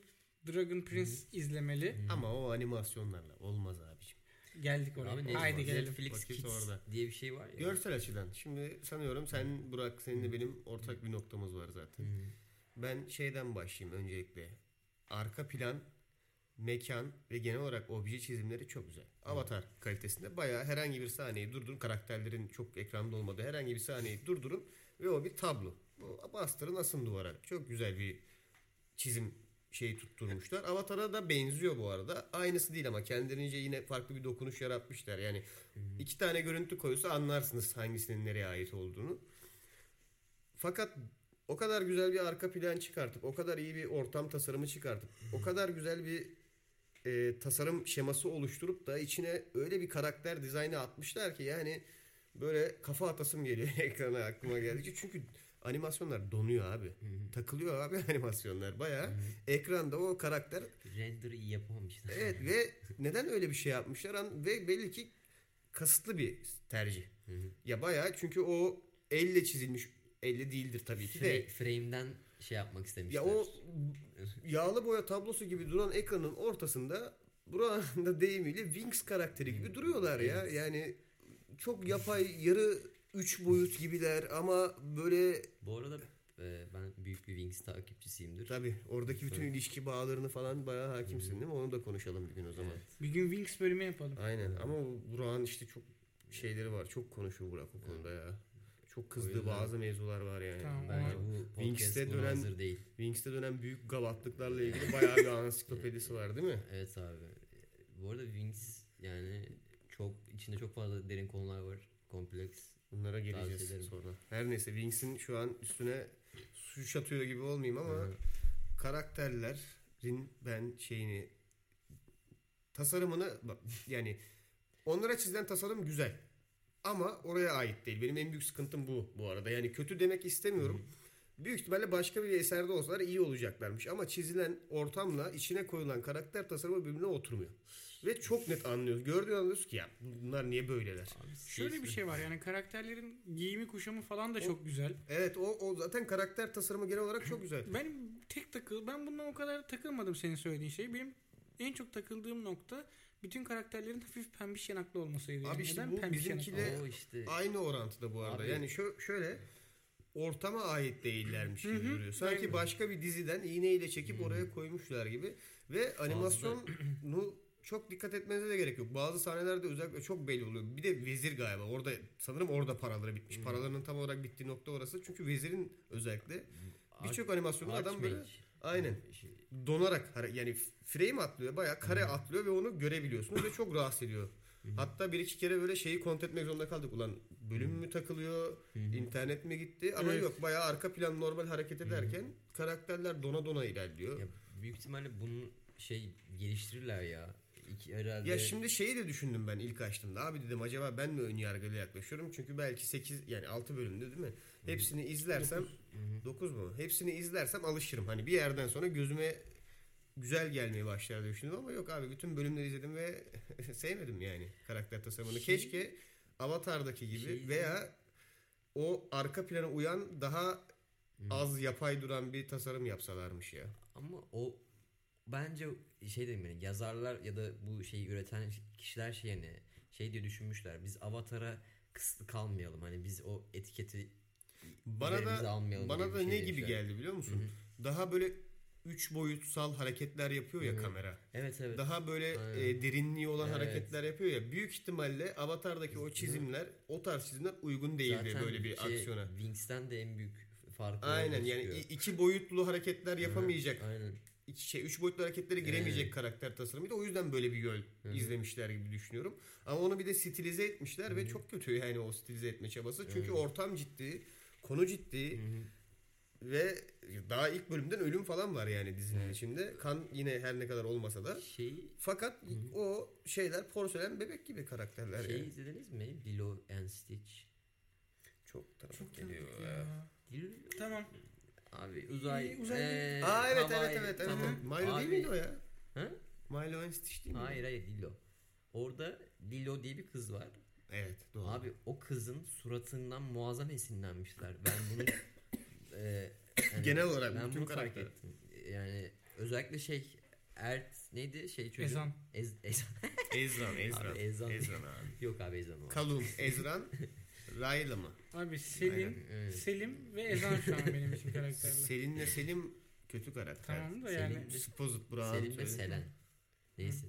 [SPEAKER 7] Dragon Prince izlemeli.
[SPEAKER 5] Ama o animasyonlarla olmaz abiciğim.
[SPEAKER 7] Geldik oraya.
[SPEAKER 6] Hmm. Abi
[SPEAKER 7] Haydi
[SPEAKER 6] Netflix-
[SPEAKER 7] gelelim.
[SPEAKER 6] Netflix
[SPEAKER 5] Vakit
[SPEAKER 6] Kids
[SPEAKER 5] orada.
[SPEAKER 6] diye bir şey var ya.
[SPEAKER 5] Görsel açıdan. Şimdi sanıyorum sen Burak seninle benim ortak bir noktamız var zaten.
[SPEAKER 6] Hmm.
[SPEAKER 5] Ben şeyden başlayayım öncelikle. Arka plan, mekan ve genel olarak obje çizimleri çok güzel. Avatar kalitesinde bayağı herhangi bir sahneyi durdurun. Karakterlerin çok ekranda olmadığı herhangi bir sahneyi durdurun ve o bir tablo. Bu Bastırın asın duvara. Çok güzel bir çizim şeyi tutturmuşlar. Avatar'a da benziyor bu arada. Aynısı değil ama kendilerince yine farklı bir dokunuş yaratmışlar. Yani iki tane görüntü koysa anlarsınız hangisinin nereye ait olduğunu. Fakat o kadar güzel bir arka plan çıkartıp, o kadar iyi bir ortam tasarımı çıkartıp, o kadar güzel bir e, tasarım şeması oluşturup da içine öyle bir karakter dizaynı atmışlar ki yani böyle kafa atasım geliyor ekrana aklıma geldikçe. Çünkü animasyonlar donuyor abi. Takılıyor abi animasyonlar. Bayağı ekranda o karakter
[SPEAKER 6] Render'ı iyi yapamamışlar.
[SPEAKER 5] Evet ve neden öyle bir şey yapmışlar An- ve belli ki kasıtlı bir tercih.
[SPEAKER 6] Hmm.
[SPEAKER 5] Ya bayağı çünkü o elle çizilmiş elle değildir tabii ki de.
[SPEAKER 6] Fra- frame'den şey yapmak istemişler.
[SPEAKER 5] Ya o yağlı boya tablosu gibi duran ekranın ortasında buranın da deyimiyle Wings karakteri gibi duruyorlar ya. Yani çok yapay yarı üç boyut gibiler ama böyle
[SPEAKER 6] Bu arada e, ben büyük bir Wings takipçisiyimdir.
[SPEAKER 5] E, tabii oradaki bütün ilişki bağlarını falan bayağı hakimsin değil mi? Onu da konuşalım bir gün o zaman.
[SPEAKER 7] Bir gün Wings bölümü yapalım.
[SPEAKER 5] Aynen ama bu- Burak'ın işte çok şeyleri var. Çok konuşuyor Burak o konuda ya. Çok kızdığı
[SPEAKER 6] O yüzden-
[SPEAKER 5] bazı mevzular var yani.
[SPEAKER 7] Tamam,
[SPEAKER 6] Bence
[SPEAKER 7] Ama
[SPEAKER 6] bu podcast
[SPEAKER 5] Wings'te
[SPEAKER 6] buna
[SPEAKER 5] dönen-
[SPEAKER 6] hazır değil.
[SPEAKER 5] Wings'te dönen büyük gavatlıklarla ilgili bayağı bir ansiklopedisi var değil mi?
[SPEAKER 6] Evet abi. Bu arada Wings yani çok içinde çok fazla derin konular var. Kompleks.
[SPEAKER 5] Bunlara
[SPEAKER 6] Tavsiye
[SPEAKER 5] geleceğiz
[SPEAKER 6] ederim.
[SPEAKER 5] sonra. Her neyse Wings'in şu an üstüne su çatıyor gibi olmayayım ama
[SPEAKER 6] Hı hı.
[SPEAKER 5] karakterlerin ben şeyini tasarımını bak, yani onlara çizilen tasarım güzel. Ama oraya ait değil. Benim en büyük sıkıntım bu bu arada. Yani kötü demek istemiyorum. Büyük ihtimalle başka bir eserde olsalar iyi olacaklarmış. Ama çizilen ortamla içine koyulan karakter tasarımı birbirine oturmuyor. Ve çok net anlıyoruz. Gördüğün anlıyoruz ki ya bunlar niye böyleler.
[SPEAKER 7] Şöyle bir şey var yani karakterlerin giyimi kuşamı falan da çok güzel.
[SPEAKER 5] Evet o, o zaten karakter tasarımı genel olarak çok güzel.
[SPEAKER 7] Ben tek takıl ben bundan o kadar takılmadım senin söylediğin şey. Benim en çok takıldığım nokta bütün karakterlerin hafif pembiş yanaklı olmasıydı.
[SPEAKER 5] Abi
[SPEAKER 7] Yani
[SPEAKER 5] işte
[SPEAKER 7] Neden
[SPEAKER 5] bu
[SPEAKER 7] pembiş
[SPEAKER 5] bizimkiyle-
[SPEAKER 7] yanaklı?
[SPEAKER 6] O işte.
[SPEAKER 5] Aynı orantıda bu arada.
[SPEAKER 6] Abi-
[SPEAKER 5] Yani şö- şöyle ortama ait değillermiş gibi duruyor. Sanki
[SPEAKER 7] Aynen.
[SPEAKER 5] başka bir diziden iğneyle çekip oraya koymuşlar gibi ve animasyonu çok dikkat etmenize de gerek yok. Bazı sahnelerde özellikle çok belli oluyor. Bir de vezir galiba orada sanırım orada paraları bitmiş. Paralarının tam olarak bittiği nokta orası. Çünkü vezirin özellikle
[SPEAKER 6] Arch-
[SPEAKER 5] birçok animasyonu adam böyle
[SPEAKER 6] Archmage.
[SPEAKER 5] aynen
[SPEAKER 6] Şey,
[SPEAKER 5] donarak hare- yani frame atlıyor bayağı kare atlıyor ve onu görebiliyorsunuz ve çok rahatsız ediyor. Hatta bir iki kere böyle şeyi kontrol etmek zorunda kaldık. Ulan bölüm mü takılıyor, internet mi gitti? Ama
[SPEAKER 7] Evet.
[SPEAKER 5] yok bayağı arka plan normal hareket ederken karakterler dona dona ilerliyor.
[SPEAKER 6] Ya büyük ihtimalle bunu şey geliştirirler ya. İki, herhalde
[SPEAKER 5] Ya şimdi şeyi de düşündüm ben ilk açtığımda. Abi dedim acaba ben mi ön yargılı yaklaşıyorum? Çünkü belki 8 yani 6 bölümde değil mi? Hepsini izlersem 9 mu? Hepsini izlersem alışırım. Hani bir yerden sonra gözüme güzel gelmeye başlar diye düşündüm ama yok abi bütün bölümleri izledim ve sevmedim yani karakter tasarımını.
[SPEAKER 6] Şey-
[SPEAKER 5] Keşke Avatar'daki gibi
[SPEAKER 6] Şey-
[SPEAKER 5] veya o arka plana uyan daha az yapay duran bir tasarım yapsalarmış ya.
[SPEAKER 6] ama o bence şey dedim yani yazarlar ya da bu şeyi üreten kişiler şey hani şey diye düşünmüşler. Biz avatara kısıtlı kalmayalım. Hani biz o etiketi
[SPEAKER 5] Bana
[SPEAKER 6] üzerimize
[SPEAKER 5] da
[SPEAKER 6] almayalım
[SPEAKER 5] bana
[SPEAKER 6] gibi
[SPEAKER 5] da
[SPEAKER 6] bir şey
[SPEAKER 5] ne gibi
[SPEAKER 6] demişler.
[SPEAKER 5] geldi biliyor musun? Daha böyle üç boyutsal hareketler yapıyor ya kamera.
[SPEAKER 6] Evet evet.
[SPEAKER 5] Daha böyle
[SPEAKER 6] Aynen.
[SPEAKER 5] e, derinliği olan
[SPEAKER 6] Evet.
[SPEAKER 5] hareketler yapıyor ya. Büyük ihtimalle Avatar'daki o çizimler, o tarz çizimler uygun değildi
[SPEAKER 6] Zaten
[SPEAKER 5] böyle bir
[SPEAKER 6] şey,
[SPEAKER 5] aksiyona.
[SPEAKER 6] Wings'ten de en büyük farkı
[SPEAKER 5] Aynen
[SPEAKER 6] orada
[SPEAKER 5] yani
[SPEAKER 6] çıkıyor.
[SPEAKER 5] i- iki boyutlu hareketler yapamayacak.
[SPEAKER 6] Aynen.
[SPEAKER 5] iki şey üç boyutlu hareketlere giremeyecek karakter tasarımıydı. O yüzden böyle bir yol izlemişler gibi düşünüyorum. Ama onu bir de stilize etmişler ve çok kötü yani o stilize etme çabası. Çünkü ortam ciddi, konu ciddi ve daha ilk bölümden ölüm falan var yani dizinin içinde. Kan yine her ne kadar olmasa da.
[SPEAKER 6] Şey
[SPEAKER 5] Fakat o şeyler porselen bebek gibi karakterler
[SPEAKER 6] şey
[SPEAKER 5] yani.
[SPEAKER 6] izlediniz mi? Lilo and Stitch.
[SPEAKER 5] Çok tarafı
[SPEAKER 7] Çok
[SPEAKER 5] geliyor.
[SPEAKER 7] tanıdık
[SPEAKER 5] ya.
[SPEAKER 7] ya.
[SPEAKER 6] Lilo
[SPEAKER 7] Tamam.
[SPEAKER 6] Abi uzay.
[SPEAKER 7] İyi, uzay-
[SPEAKER 6] Ee,
[SPEAKER 5] Aa evet
[SPEAKER 6] Hawaii,
[SPEAKER 5] evet evet. evet.
[SPEAKER 6] tamam.
[SPEAKER 5] Milo değil
[SPEAKER 6] Abi-
[SPEAKER 5] miydi o ya?
[SPEAKER 6] Ha?
[SPEAKER 5] Milo and Stitch değil miydi?
[SPEAKER 6] Hayır hayır Lilo. Orada Lilo diye bir kız var.
[SPEAKER 5] Evet doğru.
[SPEAKER 6] Abi o kızın suratından muazzam esinlenmişler. Ben bunu e, hani
[SPEAKER 5] Genel olarak
[SPEAKER 6] ben
[SPEAKER 5] bütün
[SPEAKER 6] bunu fark
[SPEAKER 5] karakter.
[SPEAKER 6] ettim. Yani özellikle şey Ert neydi şey çocuk?
[SPEAKER 7] Ezan.
[SPEAKER 6] Ez, ezan.
[SPEAKER 5] Ezran, Ezran.
[SPEAKER 6] Abi Ezran.
[SPEAKER 5] Ezran abi.
[SPEAKER 6] Yok abi Ezan o.
[SPEAKER 5] Kalum, Ezran, Rayla mı?
[SPEAKER 7] Abi Selim,
[SPEAKER 6] Evet.
[SPEAKER 7] Selim ve Ezan şu an benim için karakterler.
[SPEAKER 5] Selin'le Selim kötü karakter.
[SPEAKER 7] tamam da
[SPEAKER 6] Selim
[SPEAKER 7] yani
[SPEAKER 6] ve-
[SPEAKER 5] Spozit Burak'ın
[SPEAKER 6] Selim ve
[SPEAKER 5] söyledi.
[SPEAKER 6] Selen. Neyse.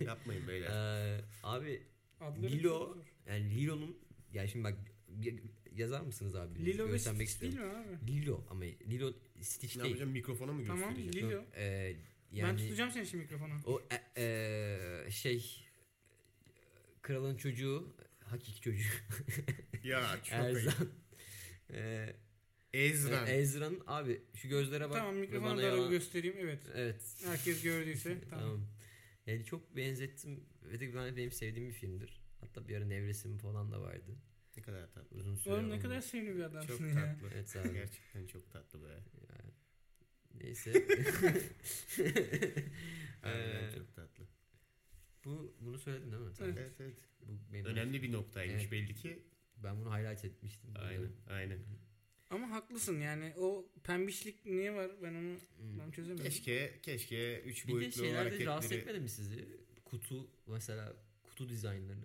[SPEAKER 5] Yapmayın beyler.
[SPEAKER 6] Ee, abi
[SPEAKER 7] adları çok
[SPEAKER 6] Lilo
[SPEAKER 7] zor.
[SPEAKER 6] yani Lilo'nun yani şimdi bak bir- yazar mısınız abi?
[SPEAKER 7] Lilo ve
[SPEAKER 6] Göstermek
[SPEAKER 7] Stitch değil mi abi?
[SPEAKER 6] Lilo ama Lilo Stitch
[SPEAKER 5] ne
[SPEAKER 6] değil.
[SPEAKER 5] yapacağım mikrofona mı
[SPEAKER 7] Tamam
[SPEAKER 5] göstereceğim?
[SPEAKER 7] Lilo.
[SPEAKER 6] Ee,
[SPEAKER 7] Ben
[SPEAKER 6] yani
[SPEAKER 7] tutacağım seni şimdi mikrofona.
[SPEAKER 6] o e, e, şey kralın çocuğu hakiki çocuğu
[SPEAKER 5] Ya çok ayıp.
[SPEAKER 6] Erzan. Ee,
[SPEAKER 5] Ezran.
[SPEAKER 6] Ezra'nın e, abi şu gözlere bak.
[SPEAKER 7] Tamam
[SPEAKER 6] ve
[SPEAKER 7] mikrofonu
[SPEAKER 6] bana
[SPEAKER 7] da
[SPEAKER 6] yalan-
[SPEAKER 7] göstereyim. Evet.
[SPEAKER 6] Evet.
[SPEAKER 7] Herkes gördüyse. Tamam.
[SPEAKER 6] Tamam. Yani çok benzettim. Ve de ben- benim sevdiğim bir filmdir. Hatta bir ara Nevresim falan da vardı.
[SPEAKER 5] ne kadar tatlı.
[SPEAKER 6] Uzun süre.
[SPEAKER 7] Oğlum ne
[SPEAKER 6] olmadı.
[SPEAKER 7] kadar sevimli bir adamsın
[SPEAKER 5] Çok
[SPEAKER 7] ya.
[SPEAKER 5] tatlı.
[SPEAKER 6] Evet abi.
[SPEAKER 5] Gerçekten çok tatlı be.
[SPEAKER 6] Yani, neyse.
[SPEAKER 5] Harbiden
[SPEAKER 6] Ee,
[SPEAKER 5] çok tatlı.
[SPEAKER 6] bu bunu söyledim değil mi? Tamam.
[SPEAKER 5] Evet evet.
[SPEAKER 6] Bu benim
[SPEAKER 5] Önemli bir noktaymış
[SPEAKER 6] Evet.
[SPEAKER 5] belli ki.
[SPEAKER 6] Ben bunu highlight etmiştim.
[SPEAKER 5] Aynen aynen.
[SPEAKER 7] Ama haklısın yani o pembişlik niye var ben onu
[SPEAKER 6] Hmm.
[SPEAKER 7] tam çözemedim.
[SPEAKER 5] Keşke keşke üç
[SPEAKER 6] Bir de
[SPEAKER 5] boyutlu
[SPEAKER 6] şeyler de rahatsız
[SPEAKER 5] hareketleri
[SPEAKER 6] etmedi mi sizi? Kutu mesela kutu dizaynları.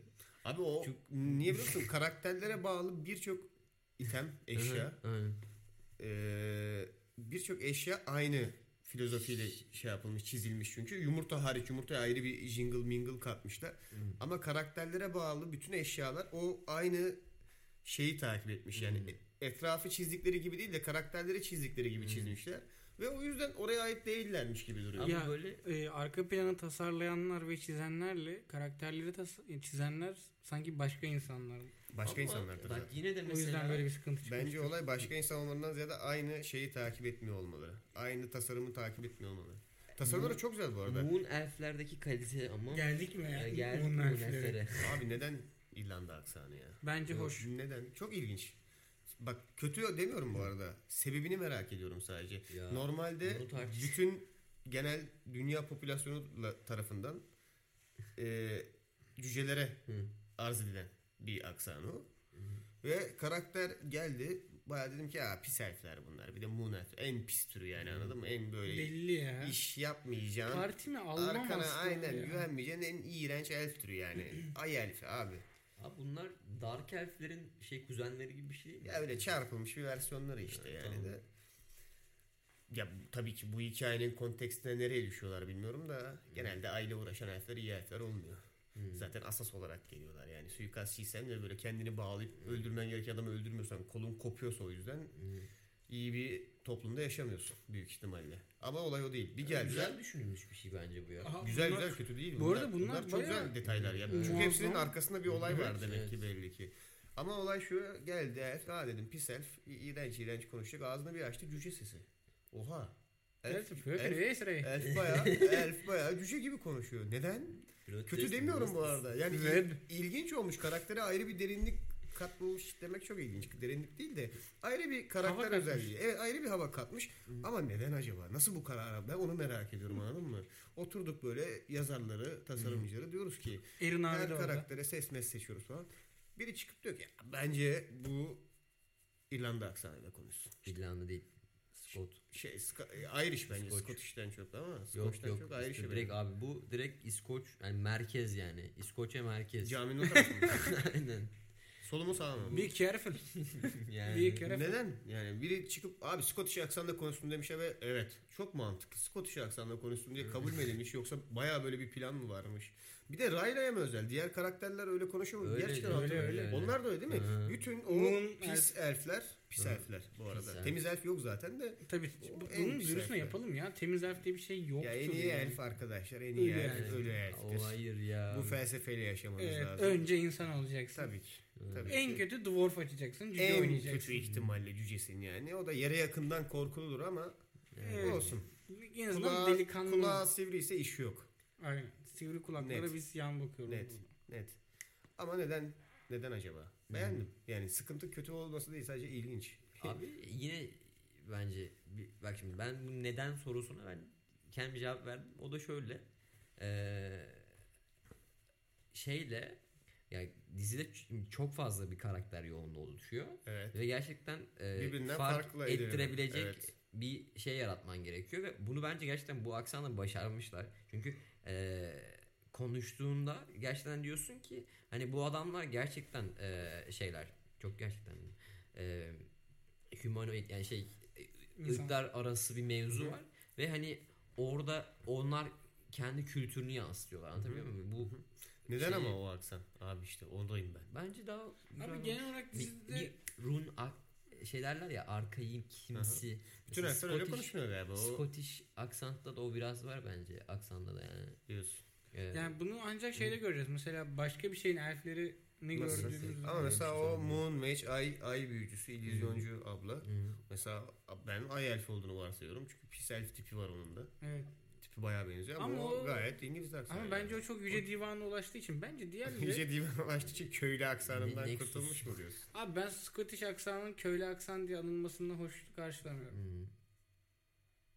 [SPEAKER 5] Abi o
[SPEAKER 6] Çok-
[SPEAKER 5] niye biliyor musun? Karakterlere bağlı birçok item, eşya,
[SPEAKER 6] Hı hı, aynen.
[SPEAKER 5] eee, birçok eşya aynı filozofiyle şey yapılmış, çizilmiş çünkü. Yumurta hariç, yumurtaya ayrı bir jingle mingle katmışlar. Ama karakterlere bağlı bütün eşyalar o aynı şeyi takip etmiş. Yani etrafı çizdikleri gibi değil de karakterleri çizdikleri gibi çizmişler. Ve o yüzden oraya ait değillermiş gibi duruyor.
[SPEAKER 6] Ama
[SPEAKER 7] Ya
[SPEAKER 6] böyle-
[SPEAKER 7] e, arka planı tasarlayanlar ve çizenlerle karakterleri tas- çizenler sanki başka insanlar.
[SPEAKER 5] Başka
[SPEAKER 6] Ama
[SPEAKER 5] insanlar tabii.
[SPEAKER 6] Bak yine de
[SPEAKER 7] O yüzden
[SPEAKER 6] mesela
[SPEAKER 7] böyle bir sıkıntı çıkıyor.
[SPEAKER 5] Bence olay başka insan olmalarından ziyade aynı şeyi takip etmiyor olmaları. Aynı tasarımı takip etmiyor olmaları. Tasarımları çok güzel bu arada.
[SPEAKER 6] Moon Elf'lerdeki kalite ama
[SPEAKER 7] Geldik mi ya?
[SPEAKER 6] Ya geldik
[SPEAKER 7] Moon
[SPEAKER 6] Moon
[SPEAKER 7] Elf'lere.
[SPEAKER 6] Elf'lere.
[SPEAKER 5] Abi neden İrlanda aksanı ya?
[SPEAKER 7] Bence hoş.
[SPEAKER 5] Neden? Çok ilginç. Bak kötü demiyorum bu arada. Sebebini merak ediyorum sadece.
[SPEAKER 6] Ya,
[SPEAKER 5] Normalde
[SPEAKER 6] bunu tartış-
[SPEAKER 5] bütün genel dünya popülasyonu la- tarafından e, cücelere arz edilen bir aksan o. Ve karakter geldi. Bayağı dedim ki ya pis herifler bunlar. Bir de Moon Elf. En pis türü yani anladın mı? En böyle
[SPEAKER 7] Belli ya.
[SPEAKER 5] iş yapmayacağın.
[SPEAKER 7] Parti mi? Alman
[SPEAKER 5] Arkana
[SPEAKER 7] aslanı
[SPEAKER 5] aynen
[SPEAKER 7] ya.
[SPEAKER 5] güvenmeyeceğin en iğrenç elf türü yani. Ay elfi abi.
[SPEAKER 6] Abi bunlar Dark Elf'lerin şey kuzenleri gibi bir şey değil mi?
[SPEAKER 5] Ya öyle çarpılmış bir versiyonları işte yani de. Ya bu- tabii ki bu hikayenin kontekstine nereye düşüyorlar bilmiyorum da genelde aile uğraşan elfler iyi elfler olmuyor. Zaten asas olarak geliyorlar yani suikastçıysan ve böyle kendini bağlayıp öldürmen gereken adamı öldürmüyorsan kolun kopuyorsa o yüzden iyi bir toplumda yaşamıyorsun büyük ihtimalle. Ama olay o değil. Bir geldiler
[SPEAKER 6] Güzel düşünülmüş bir şey bence bu ya.
[SPEAKER 7] Aha,
[SPEAKER 5] Güzel
[SPEAKER 7] bunlar-
[SPEAKER 5] güzel kötü değil.
[SPEAKER 7] Bu arada bunlar
[SPEAKER 5] çok
[SPEAKER 7] bayağı-
[SPEAKER 5] güzel detaylar ya.
[SPEAKER 7] Evet.
[SPEAKER 5] Çünkü hepsinin
[SPEAKER 7] Muazzam.
[SPEAKER 5] arkasında bir olay var
[SPEAKER 6] Evet,
[SPEAKER 5] demek
[SPEAKER 6] evet.
[SPEAKER 5] ki belli ki. Ama olay şu geldi elf ha dedim pis elf i- iğrenç iğrenç konuşacak ağzını bir açtı cüce sesi. Oha. Elf,
[SPEAKER 7] Evet, böyle
[SPEAKER 5] elf,
[SPEAKER 7] reis rey.
[SPEAKER 5] elf bayağı elf bayağı cüce gibi konuşuyor. Neden?
[SPEAKER 6] Pilot
[SPEAKER 5] Kötü
[SPEAKER 6] test
[SPEAKER 5] demiyorum bu
[SPEAKER 6] nasıl-
[SPEAKER 5] arada. Yani il-
[SPEAKER 7] Red.
[SPEAKER 5] ilginç olmuş. Karaktere ayrı bir derinlik katmış demek çok ilginç. Derinlik değil de ayrı bir karakter
[SPEAKER 7] Hava katmış.
[SPEAKER 5] özelliği. Evet, ayrı bir hava katmış. Ama neden acaba? Nasıl bu karar? Ben onu merak ediyorum anladın mı? Oturduk böyle yazarları, tasarımcıları diyoruz ki
[SPEAKER 7] Erin abi
[SPEAKER 5] her
[SPEAKER 7] de orada.
[SPEAKER 5] karaktere ses mes seçiyoruz falan. Biri çıkıp diyor ki "Ya bence bu İrlanda aksanıyla konuşsun.
[SPEAKER 6] İrlanda değil. Scott.
[SPEAKER 5] Şey, Ska- Irish bence.
[SPEAKER 6] Scotch.
[SPEAKER 5] Scottish'ten çok ama
[SPEAKER 6] Yok
[SPEAKER 5] Scottish'ten
[SPEAKER 6] yok.
[SPEAKER 5] çok şey
[SPEAKER 6] işte
[SPEAKER 5] Irish'e
[SPEAKER 6] direkt
[SPEAKER 5] benziyor.
[SPEAKER 6] abi bu direkt İskoç yani merkez yani. İskoçya merkez.
[SPEAKER 5] Caminin o tarafı mı?
[SPEAKER 6] Aynen.
[SPEAKER 5] Solu mu sağ mı?
[SPEAKER 7] Be careful. Be
[SPEAKER 6] Yani.
[SPEAKER 7] careful.
[SPEAKER 5] Neden? Yani biri çıkıp abi Scottish aksanla konuştum demişe ve evet çok mantıklı. Scottish aksanla konuştum diye kabul mü edilmiş yoksa baya böyle bir plan mı varmış? Bir de Rayla'ya mı özel? Diğer karakterler öyle konuşuyor mu?
[SPEAKER 6] Öyle,
[SPEAKER 5] Gerçekten
[SPEAKER 6] öyle,
[SPEAKER 5] hatırlamıyorum.
[SPEAKER 6] öyle, öyle.
[SPEAKER 5] Onlar da öyle değil mi?
[SPEAKER 6] Hı.
[SPEAKER 5] Bütün o
[SPEAKER 7] Onun
[SPEAKER 5] pis elfler, pis elfler bu arada.
[SPEAKER 6] elf.
[SPEAKER 5] Temiz elf yok zaten de.
[SPEAKER 7] Tabii
[SPEAKER 5] O
[SPEAKER 7] bu-
[SPEAKER 5] en
[SPEAKER 7] bunun
[SPEAKER 5] güzel
[SPEAKER 7] dürüstüne
[SPEAKER 5] şey.
[SPEAKER 7] yapalım ya. Temiz elf diye bir şey yok.
[SPEAKER 5] ya en iyi elf arkadaşlar, en iyi
[SPEAKER 7] Ölü
[SPEAKER 5] elf,
[SPEAKER 7] elf.
[SPEAKER 5] ölü elftir.
[SPEAKER 6] O hayır ya.
[SPEAKER 5] Bu felsefeyle yaşamanız lazım.
[SPEAKER 7] önce insan olacaksın.
[SPEAKER 5] Tabii ki. Tabii
[SPEAKER 7] En
[SPEAKER 5] ki.
[SPEAKER 7] kötü dwarf açacaksın. Cüce
[SPEAKER 5] en
[SPEAKER 7] oynayacaksın.
[SPEAKER 5] kötü ihtimalle cücesin yani. O da yere yakından korkuludur ama
[SPEAKER 7] Evet.
[SPEAKER 5] olsun.
[SPEAKER 7] En azından
[SPEAKER 5] Kulağı,
[SPEAKER 7] delikanlı.
[SPEAKER 5] kulağı sivri ise iş yok.
[SPEAKER 7] Aynen. Sivri kulaklara
[SPEAKER 5] Net.
[SPEAKER 7] biz yan bakıyoruz.
[SPEAKER 5] Net. Net. Ama neden neden acaba? Beğendim. Yani sıkıntı kötü olması değil sadece ilginç.
[SPEAKER 6] Abi yine bence bir- bak şimdi ben bu neden sorusuna ben kendi cevap verdim. O da şöyle. Ee, şeyle ya dizide ç- çok fazla bir karakter yoğunluğu oluşuyor.
[SPEAKER 5] Evet.
[SPEAKER 6] Ve gerçekten e,
[SPEAKER 5] Birbirinden
[SPEAKER 6] fark
[SPEAKER 5] farklı ediyorum.
[SPEAKER 6] ettirebilecek
[SPEAKER 5] Evet.
[SPEAKER 6] bir şey yaratman gerekiyor ve bunu bence gerçekten bu aksanla başarmışlar. Çünkü e, konuştuğunda gerçekten diyorsun ki hani bu adamlar gerçekten e, şeyler çok gerçekten e, humanoid yani şey
[SPEAKER 7] İnsan.
[SPEAKER 6] ırklar arası bir mevzu var ve hani orada onlar kendi kültürünü yansıtıyorlar anlatabiliyor muyum? Bu
[SPEAKER 5] Neden
[SPEAKER 6] Şey-
[SPEAKER 5] ama o aksan? Abi işte ondayım ben.
[SPEAKER 6] bence daha güzel
[SPEAKER 7] Abi
[SPEAKER 6] olmuş.
[SPEAKER 7] genel olarak
[SPEAKER 6] Bir-
[SPEAKER 7] dizide
[SPEAKER 6] bir Run a- şeylerler ya arkaik kimisi.
[SPEAKER 5] Bütün
[SPEAKER 6] Mesela
[SPEAKER 5] herifler öyle
[SPEAKER 6] Scottish-
[SPEAKER 5] konuşmuyor galiba. O
[SPEAKER 6] Scottish aksantta da o biraz var bence aksanda da yani.
[SPEAKER 5] diyorsun.
[SPEAKER 6] Evet.
[SPEAKER 7] yani bunu ancak şeyde göreceğiz. Mesela başka bir şeyin elfleri ne
[SPEAKER 5] Nasıl?
[SPEAKER 7] gördüğümüz
[SPEAKER 5] Ama mesela o Moon Mage ay ay büyücüsü, illüzyoncu abla.
[SPEAKER 6] Hı.
[SPEAKER 5] Mesela ben ay elf olduğunu varsayıyorum. Çünkü pis elf tipi var onun da.
[SPEAKER 7] Evet.
[SPEAKER 5] Tipi bayağı benziyor ama,
[SPEAKER 7] Ama
[SPEAKER 5] o
[SPEAKER 7] o-
[SPEAKER 5] gayet İngiliz aksanı.
[SPEAKER 7] Ama bence şey o çok yüce divanına ulaştığı için bence diğerleri
[SPEAKER 5] Yüce divan ulaştığı için şey köylü aksanından
[SPEAKER 6] Nexus.
[SPEAKER 5] kurtulmuş mu diyorsun?
[SPEAKER 7] Abi ben Scottish aksanının köylü aksan diye anılmasını hoş karşılamıyorum.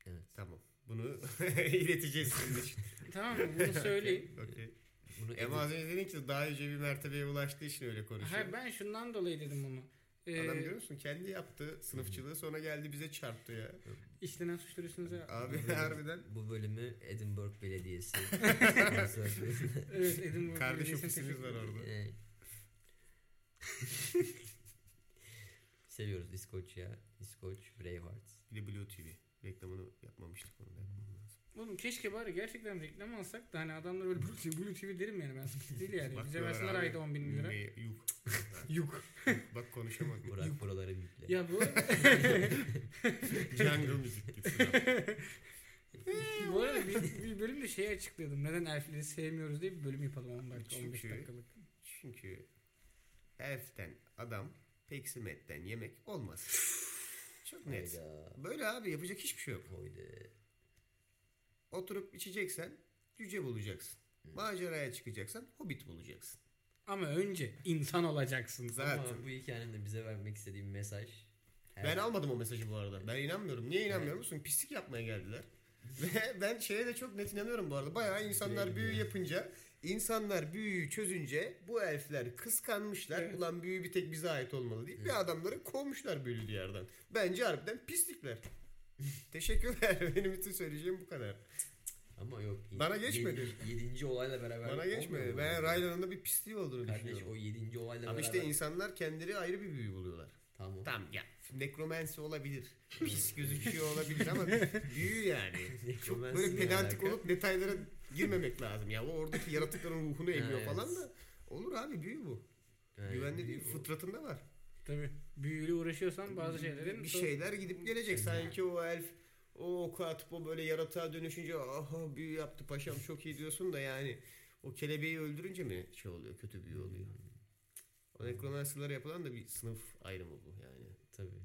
[SPEAKER 6] Hı.
[SPEAKER 5] Tamam. Bunu ileteceğiz sizin için.
[SPEAKER 7] tamam mı? Bunu söyleyin.
[SPEAKER 5] Okey.
[SPEAKER 6] Bunu
[SPEAKER 5] Ama az önce dedin ki daha yüce bir mertebeye ulaştığı için öyle konuşuyor.
[SPEAKER 7] Hayır ben şundan dolayı dedim bunu. Ee,
[SPEAKER 5] Adam görüyor musun? Kendi yaptı sınıfçılığı sonra geldi bize çarptı ya.
[SPEAKER 7] işlenen suç duyurusunu-
[SPEAKER 5] Abi harbiden
[SPEAKER 6] edit- bu bölümü Edinburgh Belediyesi.
[SPEAKER 7] Evet Edinburgh
[SPEAKER 5] kardeş
[SPEAKER 7] Belediyesi'ne
[SPEAKER 5] ofisimiz
[SPEAKER 7] teşekkür
[SPEAKER 5] var
[SPEAKER 7] ederim.
[SPEAKER 5] orada.
[SPEAKER 6] Evet. Seviyoruz İskoçya, İskoç, Braveheart.
[SPEAKER 5] Bir de Blue TV. Reklamını yapmamıştık onu da yapmam lazım.
[SPEAKER 7] Oğlum keşke bari gerçekten reklam alsak da hani adamlar böyle Blue TV, Blue TV derim yani ben sıkıntı değil yani. Bize
[SPEAKER 5] Bakıyorlar
[SPEAKER 7] versinler
[SPEAKER 5] abi,
[SPEAKER 7] ayda 10 bin lira.
[SPEAKER 5] bir Yuk.
[SPEAKER 7] Yok.
[SPEAKER 5] Bak konuşamadım.
[SPEAKER 6] Burak buraları yükle.
[SPEAKER 7] Ya bu,
[SPEAKER 5] Jungle müzik gitsin.
[SPEAKER 7] bu arada bir, bir bölümde şeyi açıkladım. Neden elfleri sevmiyoruz diye bir bölüm yapalım 10 dakika 15
[SPEAKER 5] Çünkü-
[SPEAKER 7] dakikalık.
[SPEAKER 5] Çünkü elften adam peksimetten yemek olmaz. Çok net.
[SPEAKER 6] Hayda.
[SPEAKER 5] Böyle abi yapacak hiçbir şey yok.
[SPEAKER 6] Hayda.
[SPEAKER 5] Oturup içeceksen cüce bulacaksın. Maceraya çıkacaksan hobbit bulacaksın.
[SPEAKER 7] Ama önce insan olacaksın.
[SPEAKER 5] Zaten.
[SPEAKER 6] Ama bu hikayenin de bize vermek istediğim mesaj. her-
[SPEAKER 5] Ben almadım o mesajı bu arada. Ben inanmıyorum. Niye inanmıyorum? Çünkü pislik yapmaya geldiler. Ve ben şeye de çok net inanıyorum bu arada. Bayağı insanlar büyü yapınca, insanlar büyüyü çözünce bu elfler kıskanmışlar. Ulan büyü bir tek bize ait olmalı deyip bir adamları kovmuşlar büyülü yerden. Bence harbiden pislikler. Teşekkürler. Benim bütün söyleyeceğim bu kadar.
[SPEAKER 6] Ama yok.
[SPEAKER 5] Bana geçmedi.
[SPEAKER 6] Yedinci, yedinci olayla beraber.
[SPEAKER 5] Bana
[SPEAKER 6] olmuyor
[SPEAKER 5] geçmedi.
[SPEAKER 6] mu?
[SPEAKER 5] Ben Raylan'ın da bir pisliği olduğunu
[SPEAKER 6] Kardeş
[SPEAKER 5] düşünüyorum.
[SPEAKER 6] o yedinci olayla
[SPEAKER 5] Ama
[SPEAKER 6] beraber.
[SPEAKER 5] işte insanlar kendileri ayrı bir büyü buluyorlar.
[SPEAKER 6] Tamam.
[SPEAKER 5] Tamam ya. Nekromansi olabilir. Pis gözüküyor olabilir ama büyü yani. Çok
[SPEAKER 6] Nekromansi
[SPEAKER 5] böyle
[SPEAKER 6] ne
[SPEAKER 5] pedantik
[SPEAKER 6] alaka?
[SPEAKER 5] olup detaylara girmemek lazım ya. O oradaki yaratıkların ruhunu emiyor
[SPEAKER 6] evet.
[SPEAKER 5] falan da. Olur abi büyü bu.
[SPEAKER 6] Yani
[SPEAKER 5] Güvenli
[SPEAKER 6] bir-
[SPEAKER 5] değil. Fıtratında var.
[SPEAKER 7] Tabii. Büyüyle uğraşıyorsan bazı şeylerin
[SPEAKER 5] Bir şey
[SPEAKER 7] son-
[SPEAKER 5] şeyler gidip gelecek. Sanki o elf o oku atıp o böyle yaratığa dönüşünce aha büyü yaptı paşam çok iyi diyorsun da yani o kelebeği öldürünce mi şey oluyor kötü büyü oluyor.
[SPEAKER 6] Hmm.
[SPEAKER 5] O nekromansilere yapılan da bir sınıf ayrımı bu yani.
[SPEAKER 6] Tabii.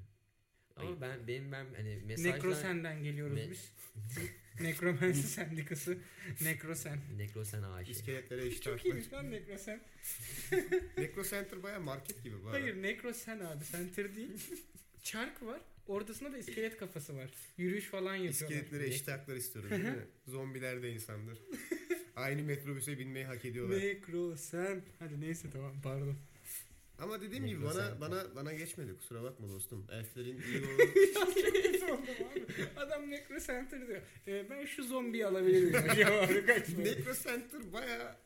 [SPEAKER 6] Ama ben benim ben hani mesajlar
[SPEAKER 7] Nekrosen'den geliyoruz
[SPEAKER 6] Ne-
[SPEAKER 7] biz. Nekromansi sendikası. Nekrosen.
[SPEAKER 6] Nekrosen AŞ.
[SPEAKER 5] İskeletlere eşit
[SPEAKER 7] Çok
[SPEAKER 5] haklar.
[SPEAKER 7] iyiymiş lan Nekrosen.
[SPEAKER 5] Necro Center baya market gibi bu arada.
[SPEAKER 7] Hayır Nekrosen abi. Center değil. Çark var. Ortasında da iskelet kafası var. Yürüyüş falan yapıyorlar.
[SPEAKER 5] İskeletlere eşit haklar istiyoruz değil mi? Zombiler de insandır. Aynı metrobüse binmeyi hak ediyorlar.
[SPEAKER 7] Nekrosen. Hadi neyse tamam pardon.
[SPEAKER 5] Ama dediğim gibi
[SPEAKER 6] Necro
[SPEAKER 5] bana
[SPEAKER 6] Center.
[SPEAKER 5] bana bana geçmedi kusura bakma dostum. Elflerin iyi o
[SPEAKER 7] Adam Necro Center diyor. E, ben şu zombiyi alabilirim. ya abi kaçma.
[SPEAKER 5] Necro Center baya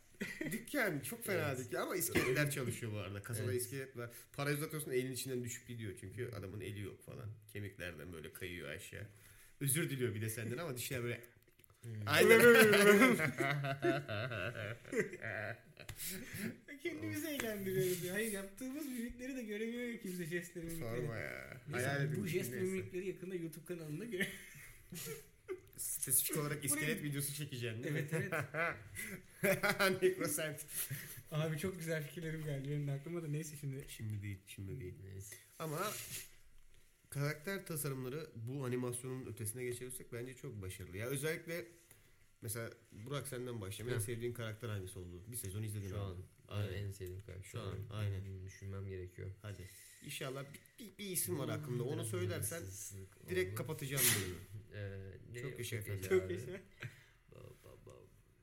[SPEAKER 5] dükkan çok fena
[SPEAKER 6] Evet.
[SPEAKER 5] dükkan ama iskeletler çalışıyor bu arada. Kasada
[SPEAKER 6] Evet.
[SPEAKER 5] iskelet var. Para uzatıyorsun elin içinden düşüp gidiyor çünkü adamın eli yok falan. Kemiklerden böyle kayıyor aşağı. Özür diliyor bir de senden ama dişler böyle Aynen.
[SPEAKER 3] Kendimizi eğlendiriyoruz ya. Hayır yaptığımız mimikleri de göremiyor ya kimse jestleri mimikleri.
[SPEAKER 5] Sorma ya.
[SPEAKER 7] Neyse,
[SPEAKER 5] Hayal edin.
[SPEAKER 7] bu jest
[SPEAKER 5] Neyse.
[SPEAKER 7] mimikleri yakında YouTube kanalında göre.
[SPEAKER 5] Spesifik olarak iskelet videosu çekeceksin değil mi?
[SPEAKER 7] evet evet.
[SPEAKER 5] Necrosant.
[SPEAKER 7] Abi çok güzel fikirlerim geldi benim de aklıma da neyse şimdi.
[SPEAKER 5] Şimdi değil, şimdi değil.
[SPEAKER 6] Neyse.
[SPEAKER 5] Ama karakter tasarımları bu animasyonun ötesine geçebilirsek bence çok başarılı. Ya özellikle mesela Burak senden başlayalım. En
[SPEAKER 6] Hı.
[SPEAKER 5] sevdiğin karakter hangisi oldu? Bir sezon izledin
[SPEAKER 6] Şu
[SPEAKER 5] abi.
[SPEAKER 6] an
[SPEAKER 5] Aynen.
[SPEAKER 6] en sevdiğim karakter.
[SPEAKER 5] Şu an, aynen.
[SPEAKER 6] Hmm, Düşünmem gerekiyor.
[SPEAKER 5] Hadi. İnşallah bir, bir, bir isim var aklımda. Onu söylersen direkt
[SPEAKER 6] kapat.
[SPEAKER 5] kapatacağım bölümü.
[SPEAKER 6] Ee,
[SPEAKER 5] Çok yaşa efendim.
[SPEAKER 7] Çok yaşa.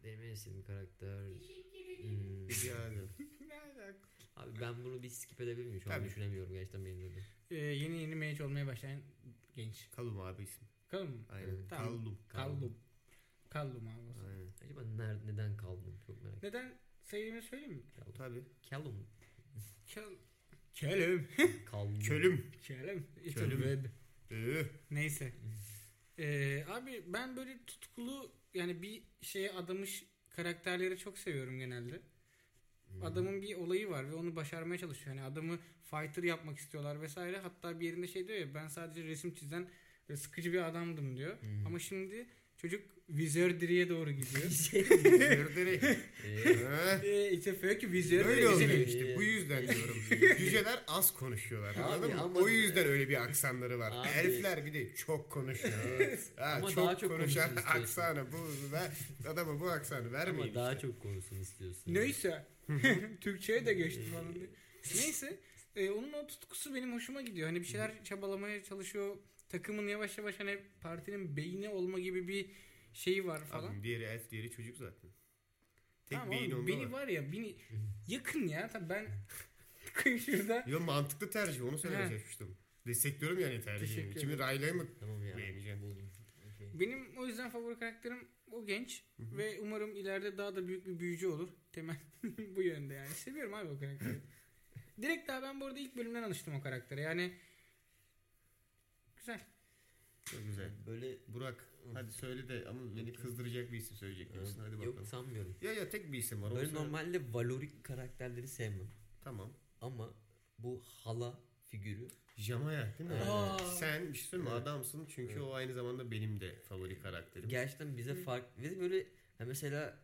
[SPEAKER 6] Benim en sevdiğim karakter. Hmm,
[SPEAKER 5] Rica ederim.
[SPEAKER 6] Abi ben bunu bir skip edebilir miyim? Şu an
[SPEAKER 5] Tabii.
[SPEAKER 6] düşünemiyorum gerçekten benim de.
[SPEAKER 7] Ee, yeni yeni mage olmaya başlayan genç.
[SPEAKER 5] Kalum abi isim.
[SPEAKER 7] Kalın mı?
[SPEAKER 5] Aynen.
[SPEAKER 7] Tamam.
[SPEAKER 5] Kalum.
[SPEAKER 7] Kallum. Kallum abi.
[SPEAKER 5] Aynen.
[SPEAKER 6] Acaba ner- neden kaldım? Çok merak ettim.
[SPEAKER 7] Neden sevdiğimi söyleyeyim mi?
[SPEAKER 5] Tabii.
[SPEAKER 6] Kalım.
[SPEAKER 7] Kel... Kelim.
[SPEAKER 6] Kalım.
[SPEAKER 5] Kölüm.
[SPEAKER 7] Kelim.
[SPEAKER 5] Kelim.
[SPEAKER 7] Kelim.
[SPEAKER 5] Ee.
[SPEAKER 7] Neyse. Ee, abi ben böyle tutkulu yani bir şeye adamış karakterleri çok seviyorum genelde. Adamın bir olayı var ve onu başarmaya çalışıyor. Yani adamı fighter yapmak istiyorlar vesaire. Hatta bir yerinde şey diyor ya ben sadece resim çizen e, sıkıcı bir adamdım diyor. Ama şimdi çocuk vizördiriye doğru gidiyor.
[SPEAKER 5] Zırdırı.
[SPEAKER 6] Ee,
[SPEAKER 5] Ha?
[SPEAKER 7] ee, işte diyor ki
[SPEAKER 5] Öyle oluyor
[SPEAKER 7] vizördiri.
[SPEAKER 5] işte. Bu
[SPEAKER 6] ee,
[SPEAKER 5] yüzden diyorum. Cüceler az konuşuyorlar. anladın mı?
[SPEAKER 6] ama-
[SPEAKER 5] O yüzden öyle bir aksanları var.
[SPEAKER 6] Abi.
[SPEAKER 5] Elfler bir de çok konuşuyor. ha,
[SPEAKER 6] Ama
[SPEAKER 5] çok,
[SPEAKER 6] daha çok
[SPEAKER 5] konuşan
[SPEAKER 6] konuşsun istiyorsun.
[SPEAKER 5] aksanı bu ver, adama bu aksanı vermeyin.
[SPEAKER 6] ama daha
[SPEAKER 5] işte.
[SPEAKER 6] çok konuşsun istiyorsun.
[SPEAKER 7] Neyse. Türkçe'ye de geçti
[SPEAKER 5] Ee,
[SPEAKER 7] falan. diye. Neyse. e, onun o tutkusu benim hoşuma gidiyor. Hani bir şeyler çabalamaya çalışıyor. Takımın yavaş yavaş hani partinin beyni olma gibi bir şeyi var falan.
[SPEAKER 5] Abi, diğeri elf, diğeri çocuk zaten. Tek
[SPEAKER 7] Tamam
[SPEAKER 5] beyin
[SPEAKER 7] oğlum,
[SPEAKER 5] onda
[SPEAKER 7] beni
[SPEAKER 5] var.
[SPEAKER 7] var ya beni yakın ya. Tabii ben şurada
[SPEAKER 5] Yo mantıklı tercih onu söylemeye
[SPEAKER 7] He.
[SPEAKER 5] çalışmıştım. Destekliyorum yani tercihini.
[SPEAKER 7] Teşekkür
[SPEAKER 5] Kimi Rayleigh mı?
[SPEAKER 6] Tamam ya.
[SPEAKER 5] Beğeneceğim.
[SPEAKER 6] Buldum. Okey.
[SPEAKER 7] Benim o yüzden favori karakterim o genç ve umarım ileride daha da büyük bir büyücü olur. Temel bu yönde yani. Seviyorum abi o karakteri. Direkt daha ben bu arada ilk bölümden alıştım o karaktere. Yani güzel.
[SPEAKER 5] Çok güzel.
[SPEAKER 6] Böyle
[SPEAKER 5] Burak hadi söyle de ama beni kızdıracak bir isim söyleyecek misin? Hadi bakalım.
[SPEAKER 6] Yok sanmıyorum.
[SPEAKER 5] Ya ya tek bir isim var. onu
[SPEAKER 6] Böyle
[SPEAKER 5] söyle.
[SPEAKER 6] normalde valorik karakterleri sevmem.
[SPEAKER 5] Tamam.
[SPEAKER 6] Ama bu hala figürü
[SPEAKER 5] Jamaya değil mi?
[SPEAKER 6] Aa.
[SPEAKER 5] Sen bir şey söyleyeyim mi? Adamsın çünkü o aynı zamanda benim de favori karakterim.
[SPEAKER 6] gerçekten bize fark ve böyle ha mesela